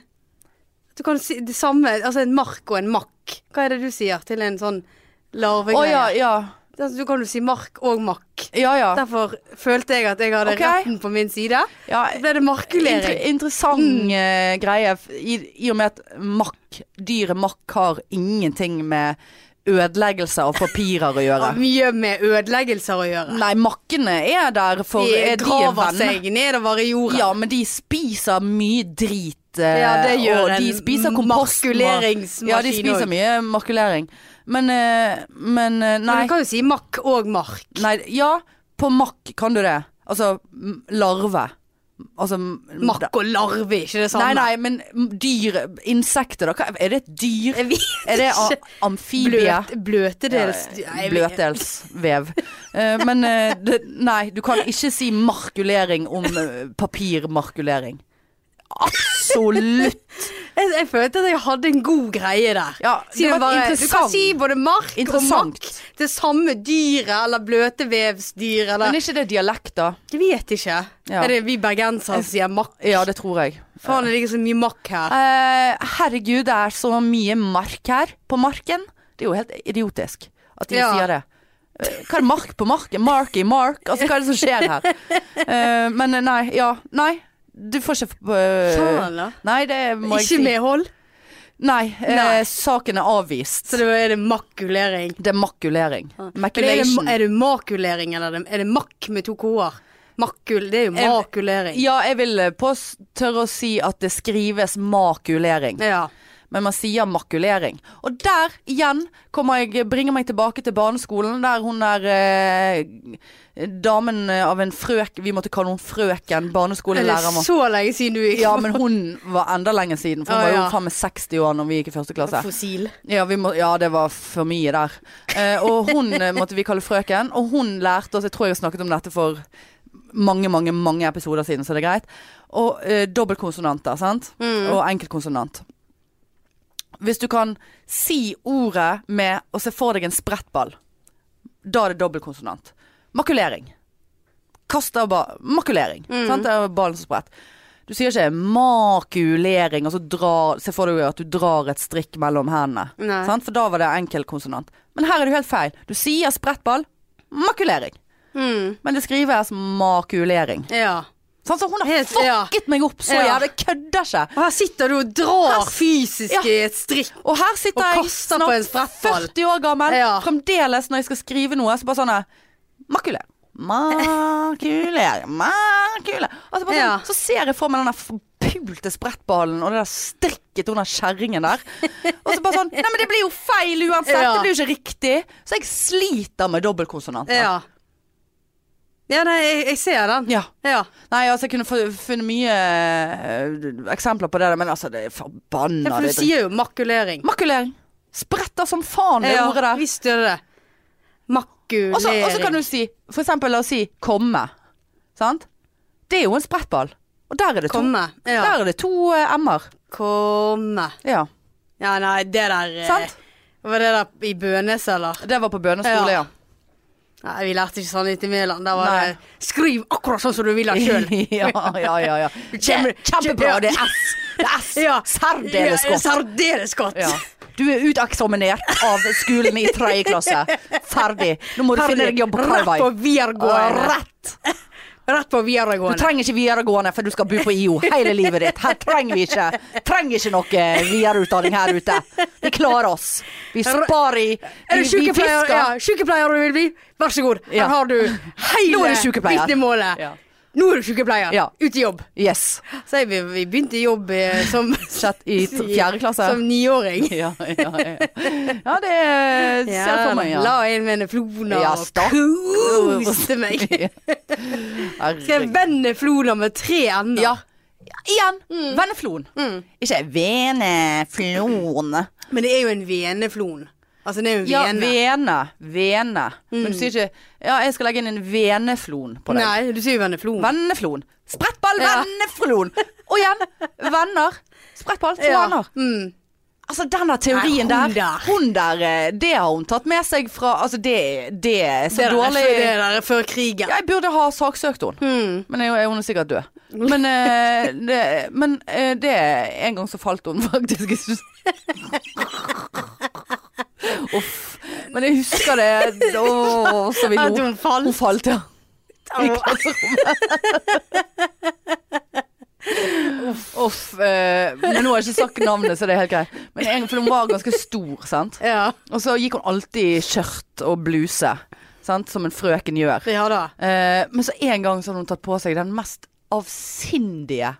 Speaker 2: Du kan si det samme, altså en mark og en makk. Hva er det du sier til en sånn
Speaker 1: Å
Speaker 2: larvegreie?
Speaker 1: ja, ja.
Speaker 2: Altså, du kan jo si mark og makk.
Speaker 1: Ja ja.
Speaker 2: Derfor følte jeg at jeg hadde
Speaker 1: Ok.
Speaker 2: retten på min side.
Speaker 1: ja
Speaker 2: Så ble det
Speaker 1: Inter
Speaker 2: markulering.
Speaker 1: interessant
Speaker 2: Mm.
Speaker 1: eh, greie, f- i, i og med at makk, dyret makk har ingenting med ødeleggelse av papirer å gjøre.
Speaker 2: Har mye med ødeleggelser å gjøre.
Speaker 1: Nei, makkene er der for
Speaker 2: De
Speaker 1: er De er
Speaker 2: graver
Speaker 1: venner.
Speaker 2: seg nedover i jorda.
Speaker 1: Ja, men de spiser mye drit. eh,
Speaker 2: Ja, det gjør
Speaker 1: og de
Speaker 2: en
Speaker 1: spiser kompost. og-
Speaker 2: makuleringsmaskin
Speaker 1: Ja, de
Speaker 2: også.
Speaker 1: spiser mye makulering. Men, eh, men eh,
Speaker 2: Men
Speaker 1: nei,
Speaker 2: du kan jo si makk og mark.
Speaker 1: nei. Ja, på makk kan du det. Altså m- larve. Altså m-
Speaker 2: Makk og larve, ikke det samme?
Speaker 1: Nei, nei, men dyr, insekter da, hva- er det et dyr?
Speaker 2: Jeg vet
Speaker 1: Er det a-
Speaker 2: ikke.
Speaker 1: amfibie?
Speaker 2: Bløt, bløtedels Nei, jeg vet-
Speaker 1: Bløtdelsvev. Eh, Men eh, det, nei, du kan ikke si markulering om eh, papirmarkulering. Absolutt.
Speaker 2: Jeg, jeg følte at jeg hadde en god greie der.
Speaker 1: Ja,
Speaker 2: Si
Speaker 1: det
Speaker 2: det
Speaker 1: var
Speaker 2: bare, du kan
Speaker 1: interessant.
Speaker 2: si både mark og
Speaker 1: Interessant.
Speaker 2: makk. Det samme dyret eller bløtevevsdyr eller
Speaker 1: Men er ikke det dialekt, da?
Speaker 2: Jeg vet ikke.
Speaker 1: Ja.
Speaker 2: Er det vi bergensere som sier makk?
Speaker 1: Ja, det tror jeg.
Speaker 2: Faen, det ligger så mye makk her.
Speaker 1: Eh, herregud, det er så mye mark her på marken. Det er jo helt idiotisk at de
Speaker 2: Ja.
Speaker 1: sier det. Eh, Hva er mark på marken? Mark i mark? Altså, hva er det som skjer her? Eh, men nei, ja. Nei, du får ikke eh,
Speaker 2: Faen, da.
Speaker 1: Nei, det må
Speaker 2: Ikke
Speaker 1: jeg si.
Speaker 2: medhold.
Speaker 1: Nei, eh,
Speaker 2: Nei.
Speaker 1: saken er avvist.
Speaker 2: Så det er det makkulering.
Speaker 1: Det er makulering.
Speaker 2: Men er, det,
Speaker 1: Maculation.
Speaker 2: er det makulering, eller er det- er det makk med to k-er? Makul, det er jo
Speaker 1: Jeg-
Speaker 2: makulering.
Speaker 1: Ja, jeg vil eh, på tørre å si at det skrives makulering.
Speaker 2: Ja.
Speaker 1: men man sier makulering. Og der igjen kommer jeg, bringer meg tilbake til barneskolen, der hun der eh, damen av en frøk Vi måtte kalle hun frøken,
Speaker 2: Er det
Speaker 1: barneskolelærer.
Speaker 2: så lenge siden du gikk
Speaker 1: Ja, men hun var enda lenger siden, for hun
Speaker 2: Å,
Speaker 1: var jo
Speaker 2: ja.
Speaker 1: faen meg 60 år når vi gikk i første klasse.
Speaker 2: fossil?
Speaker 1: Ja, vi må, ja, det var for mye der. Eh, og hun eh, måtte vi kalle frøken, og hun lærte oss Jeg tror jeg har snakket om dette for mange, mange mange episoder siden, så det er greit. Og eh, dobbeltkonsonanter, sant? Og enkeltkonsonant. Hvis du kan si ordet med å se for deg en sprettball, da er det dobbeltkonsonant. Makulering. Kast av ba- Makulering. Sant? Det er ballen som spredt. Du sier ikke makulering, og så drar Se for deg at du drar et strikk mellom hendene.
Speaker 2: Nei.
Speaker 1: Sant? For da var det enkel konsonant. Men her er det jo helt feil. Du sier sprettball, makulering.
Speaker 2: Mm.
Speaker 1: Men det skrives makulering.
Speaker 2: Ja.
Speaker 1: Sånn, så hun har
Speaker 2: Helt-
Speaker 1: fucket
Speaker 2: ja.
Speaker 1: meg opp så
Speaker 2: Ja.
Speaker 1: jævlig. Kødder ikke.
Speaker 2: Og her sitter du og drar
Speaker 1: Her s-
Speaker 2: fysisk
Speaker 1: ja.
Speaker 2: i et strikk.
Speaker 1: Og her sitter
Speaker 2: Og
Speaker 1: jeg
Speaker 2: kaster på en
Speaker 1: snart
Speaker 2: sprettball.
Speaker 1: 40 år gammel,
Speaker 2: Ja.
Speaker 1: fremdeles når jeg skal skrive noe, så bare sånn eh, Makuler. Makuler, makuler. Altså bare sånn,
Speaker 2: Ja.
Speaker 1: Så ser jeg for meg den der forpulte sprettballen og det der strikket under kjerringen der. Og så bare sånn Nei, men det blir jo feil uansett.
Speaker 2: Ja.
Speaker 1: Det blir jo ikke riktig. Så jeg sliter med dobbeltkonsonanter.
Speaker 2: Ja. Ja, nei, jeg, jeg ser den.
Speaker 1: Ja.
Speaker 2: Ja.
Speaker 1: Nei, altså jeg kunne fu- funnet mye eh, eksempler på det, der, men altså det er
Speaker 2: Ja,
Speaker 1: forbanna
Speaker 2: for du
Speaker 1: det er dritt.
Speaker 2: sier jo makulering.
Speaker 1: Makulering. Spretter som faen, det ordet der.
Speaker 2: visst gjør det det. Makulering.
Speaker 1: Og så, og så kan du si, for eksempel la oss si komme. Sant? Det er jo en sprettball. Og der er det to,
Speaker 2: Komme. Ja.
Speaker 1: der er det to eh, m-er.
Speaker 2: Komme.
Speaker 1: Ja.
Speaker 2: Ja, nei, det der eh,
Speaker 1: Sant?
Speaker 2: Var det der i Bønes, eller?
Speaker 1: Det var på bønneskole, ja.
Speaker 2: Ja. Nei, vi lærte ikke sånn ute i Mæland. Der var
Speaker 1: Nei.
Speaker 2: det Skriv akkurat sånn som du vil ha
Speaker 1: Ja,
Speaker 2: sjøl.
Speaker 1: ja, ja. ja.
Speaker 2: Kjempe-
Speaker 1: Kjempebra.
Speaker 2: ja.
Speaker 1: Det er S. Det er S. Særdeles godt.
Speaker 2: Særdeles godt.
Speaker 1: Ja. Du er uteksaminert av skolen i tredje klasse. Ferdig. Nå må du finne deg jobb på Karvai.
Speaker 2: Rett på videregående.
Speaker 1: Og
Speaker 2: Rett. Rett på
Speaker 1: Du
Speaker 2: videregående.
Speaker 1: trenger ikke videregående, for du skal bo på IO hele livet ditt. Her trenger vi ikke Trenger ikke noe videreutdanning her ute. Vi klarer oss. Vi sparer i
Speaker 2: Er
Speaker 1: Vi,
Speaker 2: du
Speaker 1: vi
Speaker 2: sykepleier,
Speaker 1: fisker.
Speaker 2: ja, sykepleier du vil bli? Vær så god.
Speaker 1: Ja.
Speaker 2: Her har du
Speaker 1: Nå er
Speaker 2: hele
Speaker 1: du sykepleier.
Speaker 2: vitnemålet.
Speaker 1: Ja.
Speaker 2: Nå er du sykepleier.
Speaker 1: Ja.
Speaker 2: Ut i jobb.
Speaker 1: Yes.
Speaker 2: Så jeg, vi, vi begynte i jobb eh, som
Speaker 1: Sjett i t- fjerde klasse.
Speaker 2: Som niåring.
Speaker 1: Ja, ja, ja. ja det eh, ser jeg for meg, ja.
Speaker 2: La inn venefloner
Speaker 1: Ja,
Speaker 2: og
Speaker 1: stakkars.
Speaker 2: koste meg. Skrev
Speaker 1: Herregud.
Speaker 2: venefloner med tre ender.
Speaker 1: Ja. Igjen. Venneflon. Ikke veneflon.
Speaker 2: Men det er jo en veneflon. Altså det er jo en
Speaker 1: Ja,
Speaker 2: vene.
Speaker 1: vene. Vene. Men du sier ikke Ja, jeg skal legge inn en veneflon på deg.
Speaker 2: Nei, du sier jo veneflon.
Speaker 1: Venneflon. Sprettball,
Speaker 2: Ja.
Speaker 1: venneflon! Og igjen, venner. Sprettball, to
Speaker 2: Ja.
Speaker 1: venner.
Speaker 2: Mm.
Speaker 1: Altså, den der teorien
Speaker 2: Nei, hun
Speaker 1: der,
Speaker 2: der.
Speaker 1: hun der, eh, det har hun tatt med seg fra Altså, det, det er så
Speaker 2: Det der,
Speaker 1: dårlig
Speaker 2: Det der er før krigen.
Speaker 1: Jeg burde ha saksøkt henne.
Speaker 2: Mm.
Speaker 1: Men jeg, hun er sikkert død. Men, eh, det, men eh, det En gang så falt hun faktisk. Uff. Men jeg husker det. Å, så vi
Speaker 2: At
Speaker 1: lo.
Speaker 2: hun falt.
Speaker 1: Hun falt, ja. I klasserommet. Uff. eh, men nå har jeg ikke sagt navnet, så det er helt greit. Men en, for hun var ganske stor, sant.
Speaker 2: Ja.
Speaker 1: Og så gikk hun alltid i skjørt og bluse, sant, som en frøken gjør.
Speaker 2: ja da.
Speaker 1: Eh, men så en gang så hadde hun tatt på seg den mest avsindige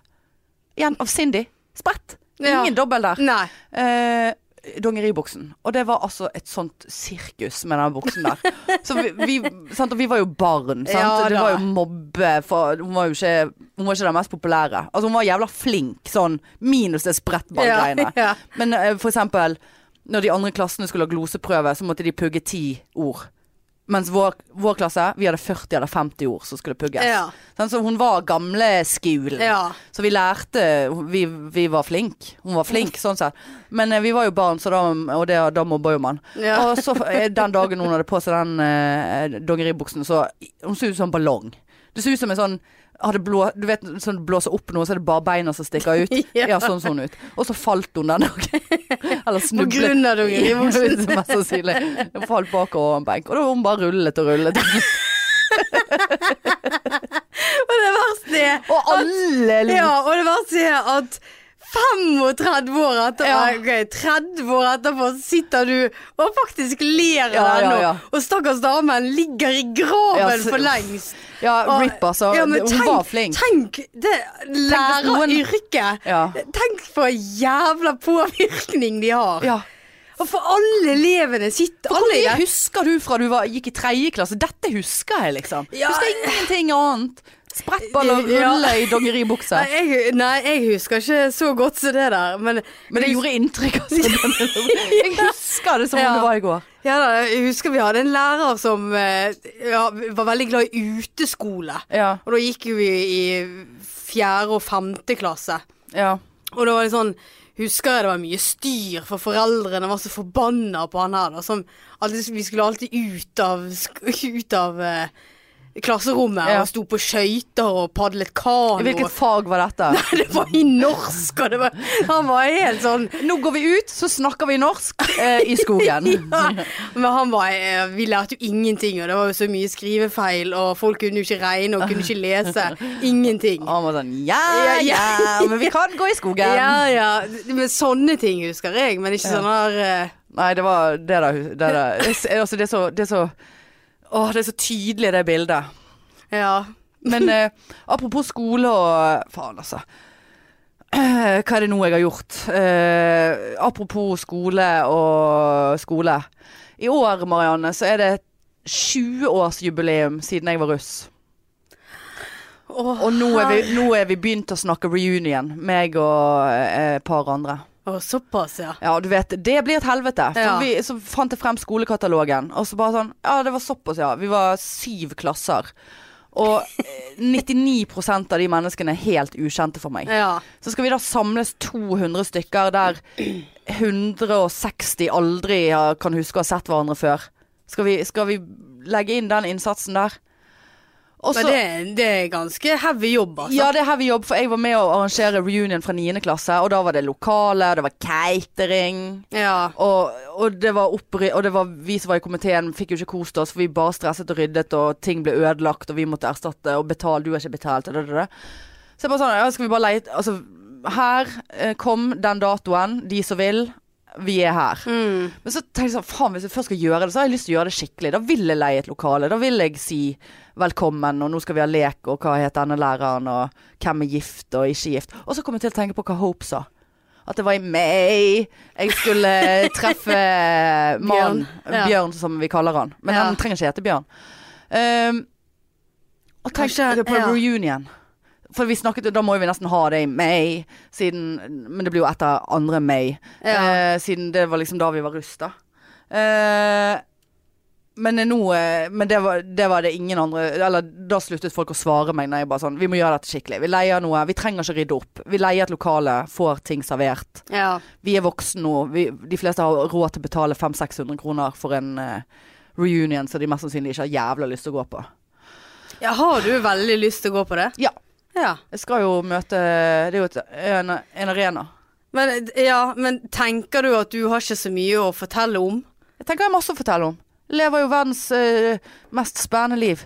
Speaker 1: Igjen, avsindig. Spredt.
Speaker 2: Ja.
Speaker 1: Ingen dobbel der.
Speaker 2: Nei.
Speaker 1: Eh, Dongeribuksen. Og det var altså et sånt sirkus med den buksen der. Så vi, vi, sant? Og vi var jo barn, sant.
Speaker 2: Ja,
Speaker 1: det
Speaker 2: da.
Speaker 1: var jo mobbe for Hun var jo ikke, hun var ikke den mest populære. Altså hun var jævla flink sånn, minus det sprettballgreiene.
Speaker 2: Ja, ja.
Speaker 1: Men eh, for eksempel når de andre klassene skulle ha gloseprøve, så måtte de pugge ti ord. Mens vår, vår klasse, vi hadde 40 eller 50 ord som skulle pugges.
Speaker 2: Ja.
Speaker 1: Sånn, så hun var gamleskolen.
Speaker 2: Ja.
Speaker 1: Så vi lærte vi, vi var flink Hun var flink, sånn sett. Men eh, vi var jo barn, så da, og det, da mobba jo man.
Speaker 2: Ja.
Speaker 1: Og så eh, den dagen hun hadde på seg den eh, dongeribuksen, så Hun så ut som en ballong. Det så ut som en sånn hadde blå, Du vet sånn du blåser opp noe, så er det bare beina som stikker ut.
Speaker 2: Ja.
Speaker 1: ja. sånn så hun ut. Og så falt hun den dagen. Eller
Speaker 2: På
Speaker 1: snublet.
Speaker 2: grunn av dongeribuksen.
Speaker 1: Ja, Mest sannsynlig. Hun falt bakover en benk. Og da var hun bare rullet og rullet.
Speaker 2: Og det verste er
Speaker 1: Og alle lo.
Speaker 2: Ja, og det verste er at 35 år etterpå,
Speaker 1: Ja.
Speaker 2: ok, 30 år etterpå så sitter du og faktisk ler av
Speaker 1: Ja,
Speaker 2: det
Speaker 1: ja,
Speaker 2: ennå.
Speaker 1: ja.
Speaker 2: Og stakkars damen ligger i graven
Speaker 1: Ja, så-
Speaker 2: for lengst.
Speaker 1: Ja,
Speaker 2: Og-
Speaker 1: Rip, altså.
Speaker 2: Ja, men
Speaker 1: hun
Speaker 2: tenk-
Speaker 1: var flink.
Speaker 2: Tenk det læreryrket.
Speaker 1: Ja.
Speaker 2: Tenk på jævla påvirkning de har.
Speaker 1: Ja.
Speaker 2: Og for alle elevene sitter
Speaker 1: Hvor
Speaker 2: alle i
Speaker 1: mye
Speaker 2: det.
Speaker 1: husker du fra du var, gikk i tredje klasse? Dette husker jeg, liksom.
Speaker 2: Ja.
Speaker 1: Husker jeg ingenting annet. Sprettball og rulle i dongeribukse.
Speaker 2: Nei jeg, nei, jeg husker ikke så godt som det der, men
Speaker 1: Men det gjorde inntrykk. Altså. Jeg husker det som om
Speaker 2: Ja.
Speaker 1: det var i går.
Speaker 2: Ja da, jeg husker vi hadde en lærer som eh, ja, var veldig glad i uteskole.
Speaker 1: Ja.
Speaker 2: Og da gikk jo vi i fjerde og femte klasse.
Speaker 1: ja.
Speaker 2: Og da var det sånn Husker jeg det var mye styr, for foreldrene var så forbanna på han her, da. Som alltid, vi skulle alltid ut av, sk- ut av eh, klasserommet
Speaker 1: Ja.
Speaker 2: og sto på skøyter og padlet kano.
Speaker 1: I hvilket fag var dette?
Speaker 2: Nei, det var i norsk, og det var Han var helt sånn
Speaker 1: Nå går vi ut, så snakker vi norsk eh, i skogen.
Speaker 2: ja. Men han var eh, Vi lærte jo ingenting, og det var jo så mye skrivefeil, og folk kunne jo ikke regne og kunne ikke lese. Ingenting.
Speaker 1: Og han var sånn ja,
Speaker 2: Ja, ja.
Speaker 1: ja, men vi kan gå i skogen.
Speaker 2: Ja, ja. Men sånne ting husker jeg, men ikke sånn her eh,
Speaker 1: Nei, det var det der. Det, der. Det, altså, det er så, det er så Åh, det er så tydelig det bildet.
Speaker 2: Ja.
Speaker 1: Men eh, apropos skole og Faen, altså. Eh, hva er det nå jeg har gjort? Eh, apropos skole og skole. I år, Marianne, så er det 20-årsjubileum siden jeg var russ.
Speaker 2: Åh,
Speaker 1: Og nå er, vi, nå er vi begynt å snakke reunion, meg og eh, et par andre.
Speaker 2: Åh, såpass, ja.
Speaker 1: Ja, du vet, det blir et helvete. For
Speaker 2: Ja.
Speaker 1: vi, så fant jeg frem skolekatalogen, og så bare sånn Ja, det var såpass, ja. Vi var syv klasser. Og eh, 99 av de menneskene er helt ukjente for meg.
Speaker 2: Ja.
Speaker 1: Så skal vi da samles 200 stykker der 160 aldri har- kan huske å ha sett hverandre før. Skal vi, skal vi legge inn den innsatsen der? Og
Speaker 2: Men
Speaker 1: så-
Speaker 2: det, det er ganske heavy jobb, altså.
Speaker 1: ja, det er heavy jobb, for jeg var med å arrangere reunion fra 9. klasse, og da var det lokale, det var catering.
Speaker 2: Ja.
Speaker 1: Og, og det var oppry og det var vi som var i komiteen, fikk jo ikke kost oss, for vi bare stresset og ryddet, og ting ble ødelagt, og vi måtte erstatte, og betale, du har ikke betalt, og det, det, det. Så jeg bare sånn, ja, skal vi bare leite Altså, her eh, kom den datoen, de som vil, vi er her.
Speaker 2: Mm.
Speaker 1: Men så tenkte jeg sånn, faen hvis jeg først skal gjøre det, så har jeg lyst til å gjøre det skikkelig. Da vil jeg leie et lokale. Da vil jeg si velkommen, og nå skal vi ha lek, og hva heter denne læreren, og hvem er gift og ikke gift. Og så kom jeg til å tenke på hva Hope sa. At det var i May jeg skulle treffe mannen.
Speaker 2: Bjørn, ja.
Speaker 1: Bjørn, som vi kaller han. Men
Speaker 2: Ja.
Speaker 1: han trenger ikke hete Bjørn. Um, og tenk
Speaker 2: Kanskje-
Speaker 1: på
Speaker 2: ja.
Speaker 1: reunion. For vi snakket, da må jo vi nesten ha det i May, siden, men det blir jo etter andre May.
Speaker 2: Ja.
Speaker 1: Eh, siden det var liksom da vi var russ, da. Eh, men nå eh, Men det var, det var det ingen andre Eller da sluttet folk å svare meg når jeg bare sånn Vi må gjøre dette skikkelig. Vi leier noe. Vi trenger ikke rydde opp. Vi leier et lokale, får ting servert.
Speaker 2: Ja.
Speaker 1: Vi er voksne nå. Vi, de fleste har råd til å betale 500-600 kroner for en eh, reunion som de mest sannsynlig ikke har jævla lyst til å gå på.
Speaker 2: ja. Har du veldig lyst til å gå på det?
Speaker 1: Ja.
Speaker 2: Ja.
Speaker 1: Jeg skal jo møte Det er jo et, en, en arena.
Speaker 2: Men, ja, men tenker du at du har ikke så mye å fortelle om?
Speaker 1: Jeg tenker jeg har masse å fortelle om. Lever jo verdens eh, mest spennende liv.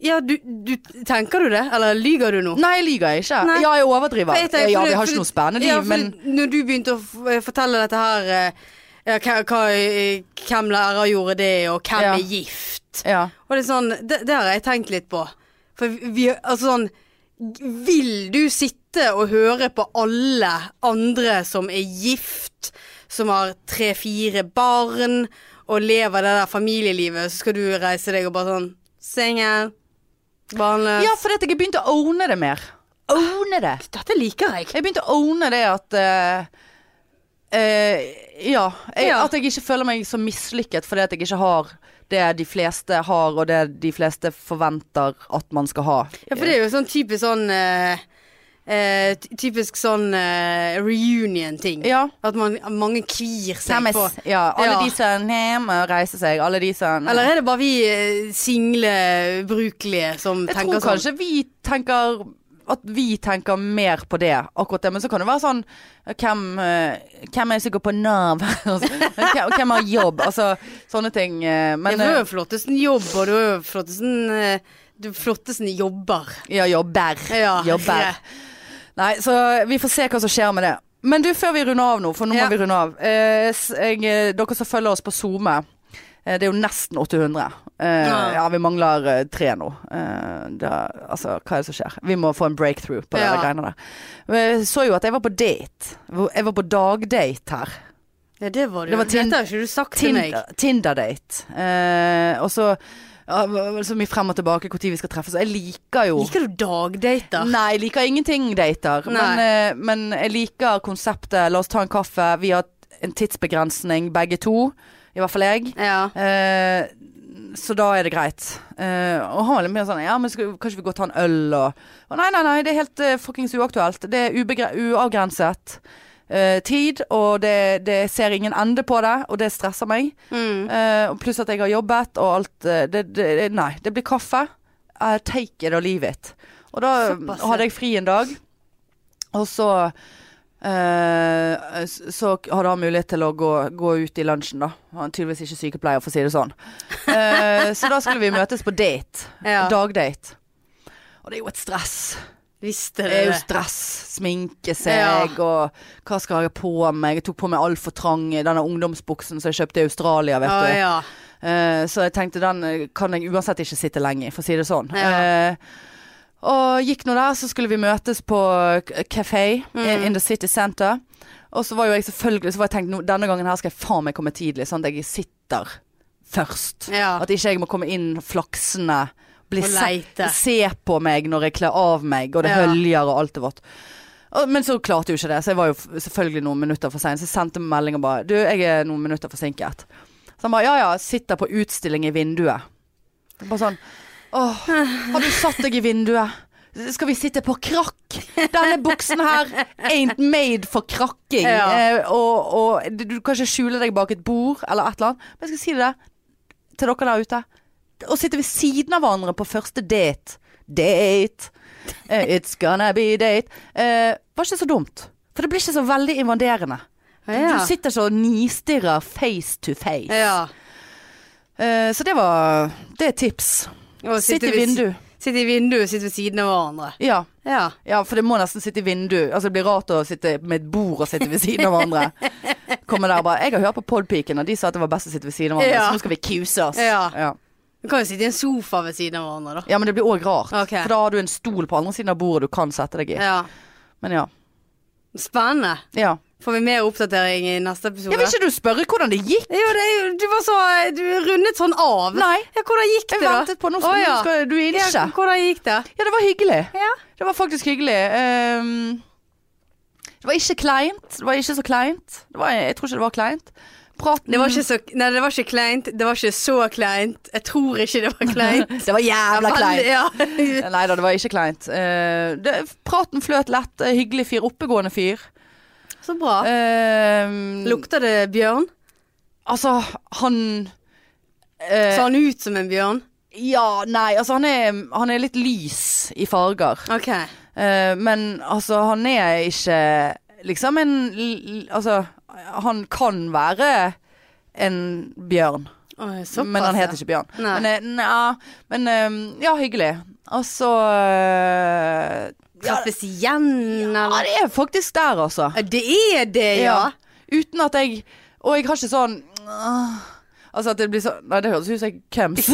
Speaker 2: Ja, du, du Tenker du det, eller lyger du nå?
Speaker 1: Nei, jeg lyver ikke.
Speaker 2: Nei.
Speaker 1: Ja, jeg overdriver.
Speaker 2: For jeg tenker-
Speaker 1: ja,
Speaker 2: for-
Speaker 1: vi har
Speaker 2: for-
Speaker 1: ikke noe spennende liv,
Speaker 2: ja, for
Speaker 1: men
Speaker 2: Når du begynte å f- eh, fortelle dette her eh, ja, hva, hva, eh, Hvem lærer gjorde det, og hvem
Speaker 1: Ja.
Speaker 2: er gift?
Speaker 1: ja.
Speaker 2: Og det er sånn Det, det har jeg tenkt litt på. For vi Altså sånn Vil du sitte og høre på alle andre som er gift, som har tre-fire barn og lever det der familielivet, så skal du reise deg og bare sånn Singel. Barnløs.
Speaker 1: ja, fordi at jeg har begynt å owne det mer. Owne det.
Speaker 2: dette liker jeg.
Speaker 1: Jeg begynte å owne det at eh, eh, ja, jeg,
Speaker 2: Ja.
Speaker 1: At jeg ikke føler meg så mislykket fordi at jeg ikke har det de fleste har, og det de fleste forventer at man skal ha.
Speaker 2: Ja, for det er jo sånn typisk sånn eh, eh, ty- Typisk sånn eh, reunion-ting.
Speaker 1: Ja.
Speaker 2: At man, mange kvir seg
Speaker 1: Nei, men-
Speaker 2: på.
Speaker 1: ja,
Speaker 2: Ja.
Speaker 1: alle de som hjem og reiser seg, alle de som
Speaker 2: Eller er det bare vi eh, single, ubrukelige som
Speaker 1: Jeg
Speaker 2: tenker
Speaker 1: tror
Speaker 2: sånn?
Speaker 1: kanskje vi tenker at vi tenker mer på det, akkurat det. Men så kan det være sånn Hvem, eh, hvem er sikker på Nav? Altså, hvem, hvem har jobb? Altså sånne ting. eh,
Speaker 2: Ja,
Speaker 1: Men
Speaker 2: for du er
Speaker 1: eh,
Speaker 2: jo flottesten jobb, og du er jo flottesten eh, Du er flottesten jobber.
Speaker 1: eh, Ja, jobber.
Speaker 2: Ja,
Speaker 1: jobber. Nei, så vi får se hva som skjer med det. Men du, før vi runder av nå, for nå
Speaker 2: Ja.
Speaker 1: må vi runde av. Eh, s- jeg, eh, dere som følger oss på SoMe, eh, det er jo nesten 800. Eh,
Speaker 2: Ja.
Speaker 1: ja. vi mangler eh, tre nå. Eh, da, altså, hva er det som skjer? Vi må få en breakthrough på
Speaker 2: Ja.
Speaker 1: de greiene der. Men Jeg så jo at jeg var på date. Jeg var på dagdate her.
Speaker 2: Ja, det var du.
Speaker 1: Det var Tin-
Speaker 2: Dette har ikke du sagt til meg.
Speaker 1: Tinder- Tinder-date. eh, og så ja, så mye frem og tilbake når vi skal treffes. Jeg liker jo
Speaker 2: Liker du dagdater?
Speaker 1: Nei, jeg liker ingenting dater. Men, eh, men jeg liker konseptet la oss ta en kaffe. Vi har en tidsbegrensning begge to. I hvert fall jeg.
Speaker 2: Ja.
Speaker 1: Eh, så da er det greit. Eh, og han var litt mer sånn Ja, men skal, kanskje vi går og tar en øl og, og Nei, nei, nei, det er helt eh, fuckings uaktuelt. Det er ubegre uavgrenset eh, tid, og det, det ser ingen ende på det, og det stresser meg.
Speaker 2: Mm.
Speaker 1: Eh, og pluss at jeg har jobbet og alt eh, det, det, det- Nei, det blir kaffe. eh, take it or leave it. Og da
Speaker 2: Såpass, ja.
Speaker 1: hadde jeg fri en dag, og så eh, s- så hadde han mulighet til å gå, gå ut i lunsjen, da. Han er tydeligvis ikke sykepleier, for å si det sånn. Eh, så da skulle vi møtes på date.
Speaker 2: Ja.
Speaker 1: Dagdate. Og det er jo et stress.
Speaker 2: Visste
Speaker 1: Det er
Speaker 2: dere
Speaker 1: jo
Speaker 2: det?
Speaker 1: stress. Sminke seg og hva skal jeg ha på meg? Jeg tok på meg altfor trang denne ungdomsbuksen som jeg kjøpte i Australia, vet
Speaker 2: Å
Speaker 1: du.
Speaker 2: ja.
Speaker 1: Eh, så jeg tenkte den eh, kan jeg uansett ikke sitte lenge i, for å si det sånn.
Speaker 2: Ja.
Speaker 1: Eh, og gikk nå der, så skulle vi møtes på k- kafé
Speaker 2: Mm.
Speaker 1: in, in the city center. Og så var jo jeg selvfølgelig Så var jeg tenkt "Nå, denne gangen her skal jeg faen meg komme tidlig, sånn at jeg sitter først.
Speaker 2: Ja.
Speaker 1: At ikke jeg må komme inn flaksende. Bli
Speaker 2: Og
Speaker 1: sett,
Speaker 2: leite.
Speaker 1: se på meg når jeg kler av meg, og det
Speaker 2: Ja.
Speaker 1: høljer og alt det vårt. Og- Men så klarte jeg jo ikke det, så jeg var jo f- selvfølgelig noen minutter for sein. Så jeg sendte en melding og bare Du, jeg er noen minutter forsinket. Så han bare ja ja, sitter på utstilling i vinduet. Jeg Bare sånn Åh, har du satt deg i vinduet? Skal vi sitte på krakk? Denne buksen her ain't made for krakking.
Speaker 2: Ja.
Speaker 1: Eh, og, og du du kan ikke skjule deg bak et bord eller et eller annet. Men jeg skal si det til dere der ute. Å sitte ved siden av hverandre på første date Date. Eh, It's gonna be date. Eh, var ikke så dumt. For det blir ikke så veldig invaderende.
Speaker 2: Ja.
Speaker 1: Du sitter så og nistirrer face to face.
Speaker 2: ja.
Speaker 1: Eh, så det var Det er tips.
Speaker 2: Og
Speaker 1: Sitt i
Speaker 2: ved si-
Speaker 1: vindu.
Speaker 2: Sitte i vinduet, sitte ved siden av hverandre.
Speaker 1: Ja.
Speaker 2: Ja.
Speaker 1: ja, for det må nesten sitte i vindu. Altså det blir rart å sitte med et bord og sitte ved siden av hverandre. Kommer der og bare Jeg har hørt på Podpiken, og de sa at det var best å sitte ved siden av hverandre,
Speaker 2: Ja.
Speaker 1: så nå skal vi kuse oss.
Speaker 2: Ja.
Speaker 1: Ja.
Speaker 2: Du kan jo sitte i en sofa ved siden av hverandre, da.
Speaker 1: Ja, men det blir òg rart.
Speaker 2: Ok.
Speaker 1: For da har du en stol på andre siden av bordet du kan sette deg i.
Speaker 2: Ja.
Speaker 1: Men ja.
Speaker 2: Spennende.
Speaker 1: ja.
Speaker 2: Får vi mer oppdatering i neste episode?
Speaker 1: Jeg vil ikke du spørre hvordan det gikk?
Speaker 2: Jo, det, er jo- du var så Du rundet sånn av.
Speaker 1: Nei.
Speaker 2: Ja, hvordan gikk det,
Speaker 1: Jeg
Speaker 2: da?
Speaker 1: ventet på noe som
Speaker 2: Å, ja.
Speaker 1: skal du
Speaker 2: Ja,
Speaker 1: ikke.
Speaker 2: hvordan gikk det?
Speaker 1: Ja, det var hyggelig.
Speaker 2: Ja.
Speaker 1: Det var faktisk hyggelig. Ehm, det var ikke kleint. Det var ikke så kleint. Det var, jeg tror ikke det var kleint. Praten
Speaker 2: Det var ikke så Nei, det var ikke kleint. Det var ikke så kleint. Jeg tror ikke det var kleint.
Speaker 1: Det var jævla kleint.
Speaker 2: Ja.
Speaker 1: Eh, Nei da, det var ikke kleint. Eh, det, praten fløt lett. eh, Hyggelig fyr. Oppegående fyr.
Speaker 2: Så bra.
Speaker 1: Ehm,
Speaker 2: Um, Lukter det bjørn?
Speaker 1: altså, han eh,
Speaker 2: Så han ut som en bjørn?
Speaker 1: Ja, nei, altså han er, han er litt lys i farger.
Speaker 2: OK.
Speaker 1: Eh, men altså, han er ikke liksom en l- l- Altså, han kan være en bjørn,
Speaker 2: Å, såpass,
Speaker 1: men han
Speaker 2: ja.
Speaker 1: heter ikke bjørn.
Speaker 2: Nei.
Speaker 1: Men, eh, nja, men eh, ja, hyggelig. Og så eh, ja,
Speaker 2: Trappes igjen,
Speaker 1: ja,
Speaker 2: eller?
Speaker 1: det er faktisk der, altså.
Speaker 2: Det er det, ja.
Speaker 1: Uten at jeg Og jeg har ikke sånn «Åh». Altså at det blir sånn Nei, det høres ut som jeg kems.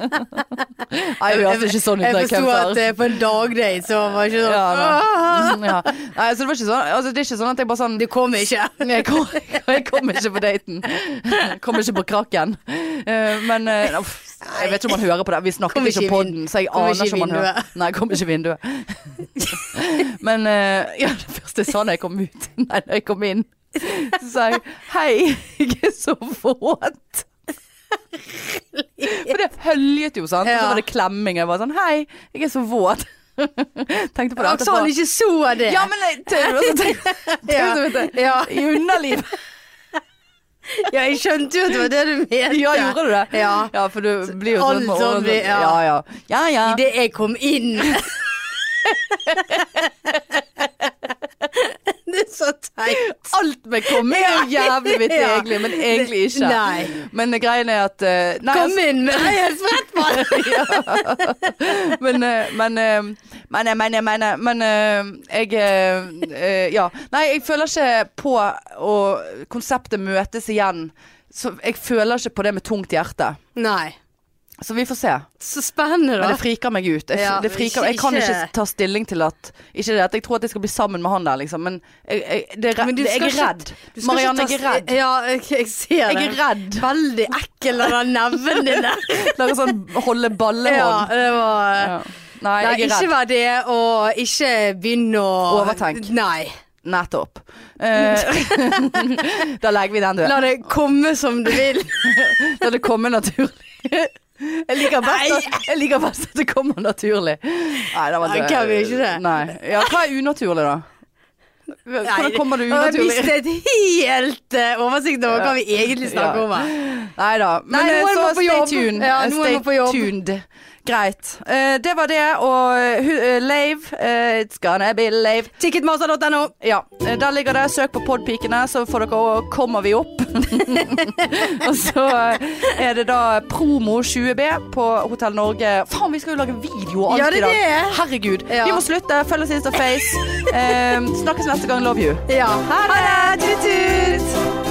Speaker 1: Nei, det høres ikke sånn ut
Speaker 2: Jeg
Speaker 1: når jeg
Speaker 2: forsto at
Speaker 1: kemser.
Speaker 2: eh, på en dagdate så var det ikke sånn
Speaker 1: Ja,
Speaker 2: «Åh!»
Speaker 1: nei. Ja. nei, så det var ikke sånn altså, Det er ikke sånn at jeg bare sånn
Speaker 2: Du kom ikke.
Speaker 1: jeg kom, jeg kom ikke på daten. Jeg kom ikke på krakken. Eh, Men eh, uff, jeg vet ikke om han hører på det. Vi snakket
Speaker 2: Kom
Speaker 1: ikke
Speaker 2: ikke i
Speaker 1: på
Speaker 2: vin-
Speaker 1: den, så jeg
Speaker 2: kom
Speaker 1: aner
Speaker 2: ikke i
Speaker 1: ikke om han hører. Nei, jeg kom ikke i vinduet. Men eh, ja, det første jeg sa da jeg kom ut, nei, da jeg kom inn, så sa jeg hei, jeg er så våt. For det høljet jo, sant. Og
Speaker 2: Ja.
Speaker 1: så var det klemming. og Jeg var sånn hei, jeg er så våt. Tenkte på det
Speaker 2: Aksa han ikke så sånn det.
Speaker 1: Ja, men jeg- til, og så tenkte, sånn
Speaker 2: ja. ja.
Speaker 1: I underlivet.
Speaker 2: ja, jeg skjønte jo at det var det du mente.
Speaker 1: Ja, gjorde du det?
Speaker 2: Ja.
Speaker 1: for du blir jo
Speaker 2: Alt
Speaker 1: sånn med
Speaker 2: sånn
Speaker 1: årene.
Speaker 2: blir- ja.
Speaker 1: ja. Ja, ja. ja.
Speaker 2: Idet jeg kom inn. det er så teit.
Speaker 1: Alt med komme er jo jævlig vitt
Speaker 2: Ja.
Speaker 1: egentlig, men egentlig ikke.
Speaker 2: Nei.
Speaker 1: Men greien er at eh, nei,
Speaker 2: Kom inn med deg, spredt mann.
Speaker 1: altså, men, eh, men, eh, men, jeg mener, jeg mener, men eh, jeg eh, eh, Ja. Nei, jeg føler ikke på å konseptet møtes igjen. Så jeg føler ikke på det med tungt hjerte.
Speaker 2: Nei.
Speaker 1: Så vi får se.
Speaker 2: Så spennende,
Speaker 1: Men det
Speaker 2: da.
Speaker 1: friker meg ut. Jeg,
Speaker 2: Ja,
Speaker 1: det friker, jeg kan
Speaker 2: ikke-
Speaker 1: ikke ta stilling til at Ikke det at jeg tror at jeg skal bli sammen med han der, liksom, men jeg, jeg, det er, re-
Speaker 2: Men du
Speaker 1: det, jeg
Speaker 2: skal
Speaker 1: er
Speaker 2: ikke-
Speaker 1: redd.
Speaker 2: Du skal
Speaker 1: Marianne,
Speaker 2: ikke
Speaker 1: jeg er
Speaker 2: ta-
Speaker 1: redd.
Speaker 2: Ja, jeg, jeg ser det.
Speaker 1: Jeg er redd.
Speaker 2: Veldig ekkel av den neven din der.
Speaker 1: Lager sånn holde
Speaker 2: Ja,
Speaker 1: ballehånd.
Speaker 2: det var
Speaker 1: Ja. Nei,
Speaker 2: Nei,
Speaker 1: jeg er
Speaker 2: ikke
Speaker 1: redd.
Speaker 2: vær det, og ikke begynn å
Speaker 1: Overtenk.
Speaker 2: Nei.
Speaker 1: Nettopp. Eh, da legger vi den død.
Speaker 2: La det komme som det vil.
Speaker 1: La det komme naturlig. Jeg liker, best at, jeg liker best at det kommer naturlig. Nei, det var
Speaker 2: Nei, kan vi ikke det?
Speaker 1: Nei. Ja, hva er unaturlig, da? Hvordan kommer det
Speaker 2: Jeg
Speaker 1: unaturlig?
Speaker 2: mistet helt eh, oversikt over hva vi egentlig snakker
Speaker 1: Ja.
Speaker 2: om her.
Speaker 1: Nei da. Men
Speaker 2: Nei,
Speaker 1: eh,
Speaker 2: noen må
Speaker 1: så
Speaker 2: på
Speaker 1: stay
Speaker 2: jobb.
Speaker 1: tuned.
Speaker 2: Ja,
Speaker 1: Eh,
Speaker 2: noen
Speaker 1: stay
Speaker 2: må på jobb.
Speaker 1: tuned. Greit. Eh, det var det, og uh, Lave eh, It's gonna be Lave.
Speaker 2: Ticketmaster.no.
Speaker 1: Ja, eh, der ligger det. Søk på Podpikene, så får dere og kommer vi opp. og så eh, er det da promo 20B på Hotell Norge. Faen, vi skal jo lage video og alt
Speaker 2: Ja, det er
Speaker 1: i dag.
Speaker 2: det.
Speaker 1: Herregud.
Speaker 2: Ja.
Speaker 1: Vi må slutte. Følg oss Insta Face. Eh, snakkes neste gang. Love you.
Speaker 2: Ja. Ha det! Tut-tut!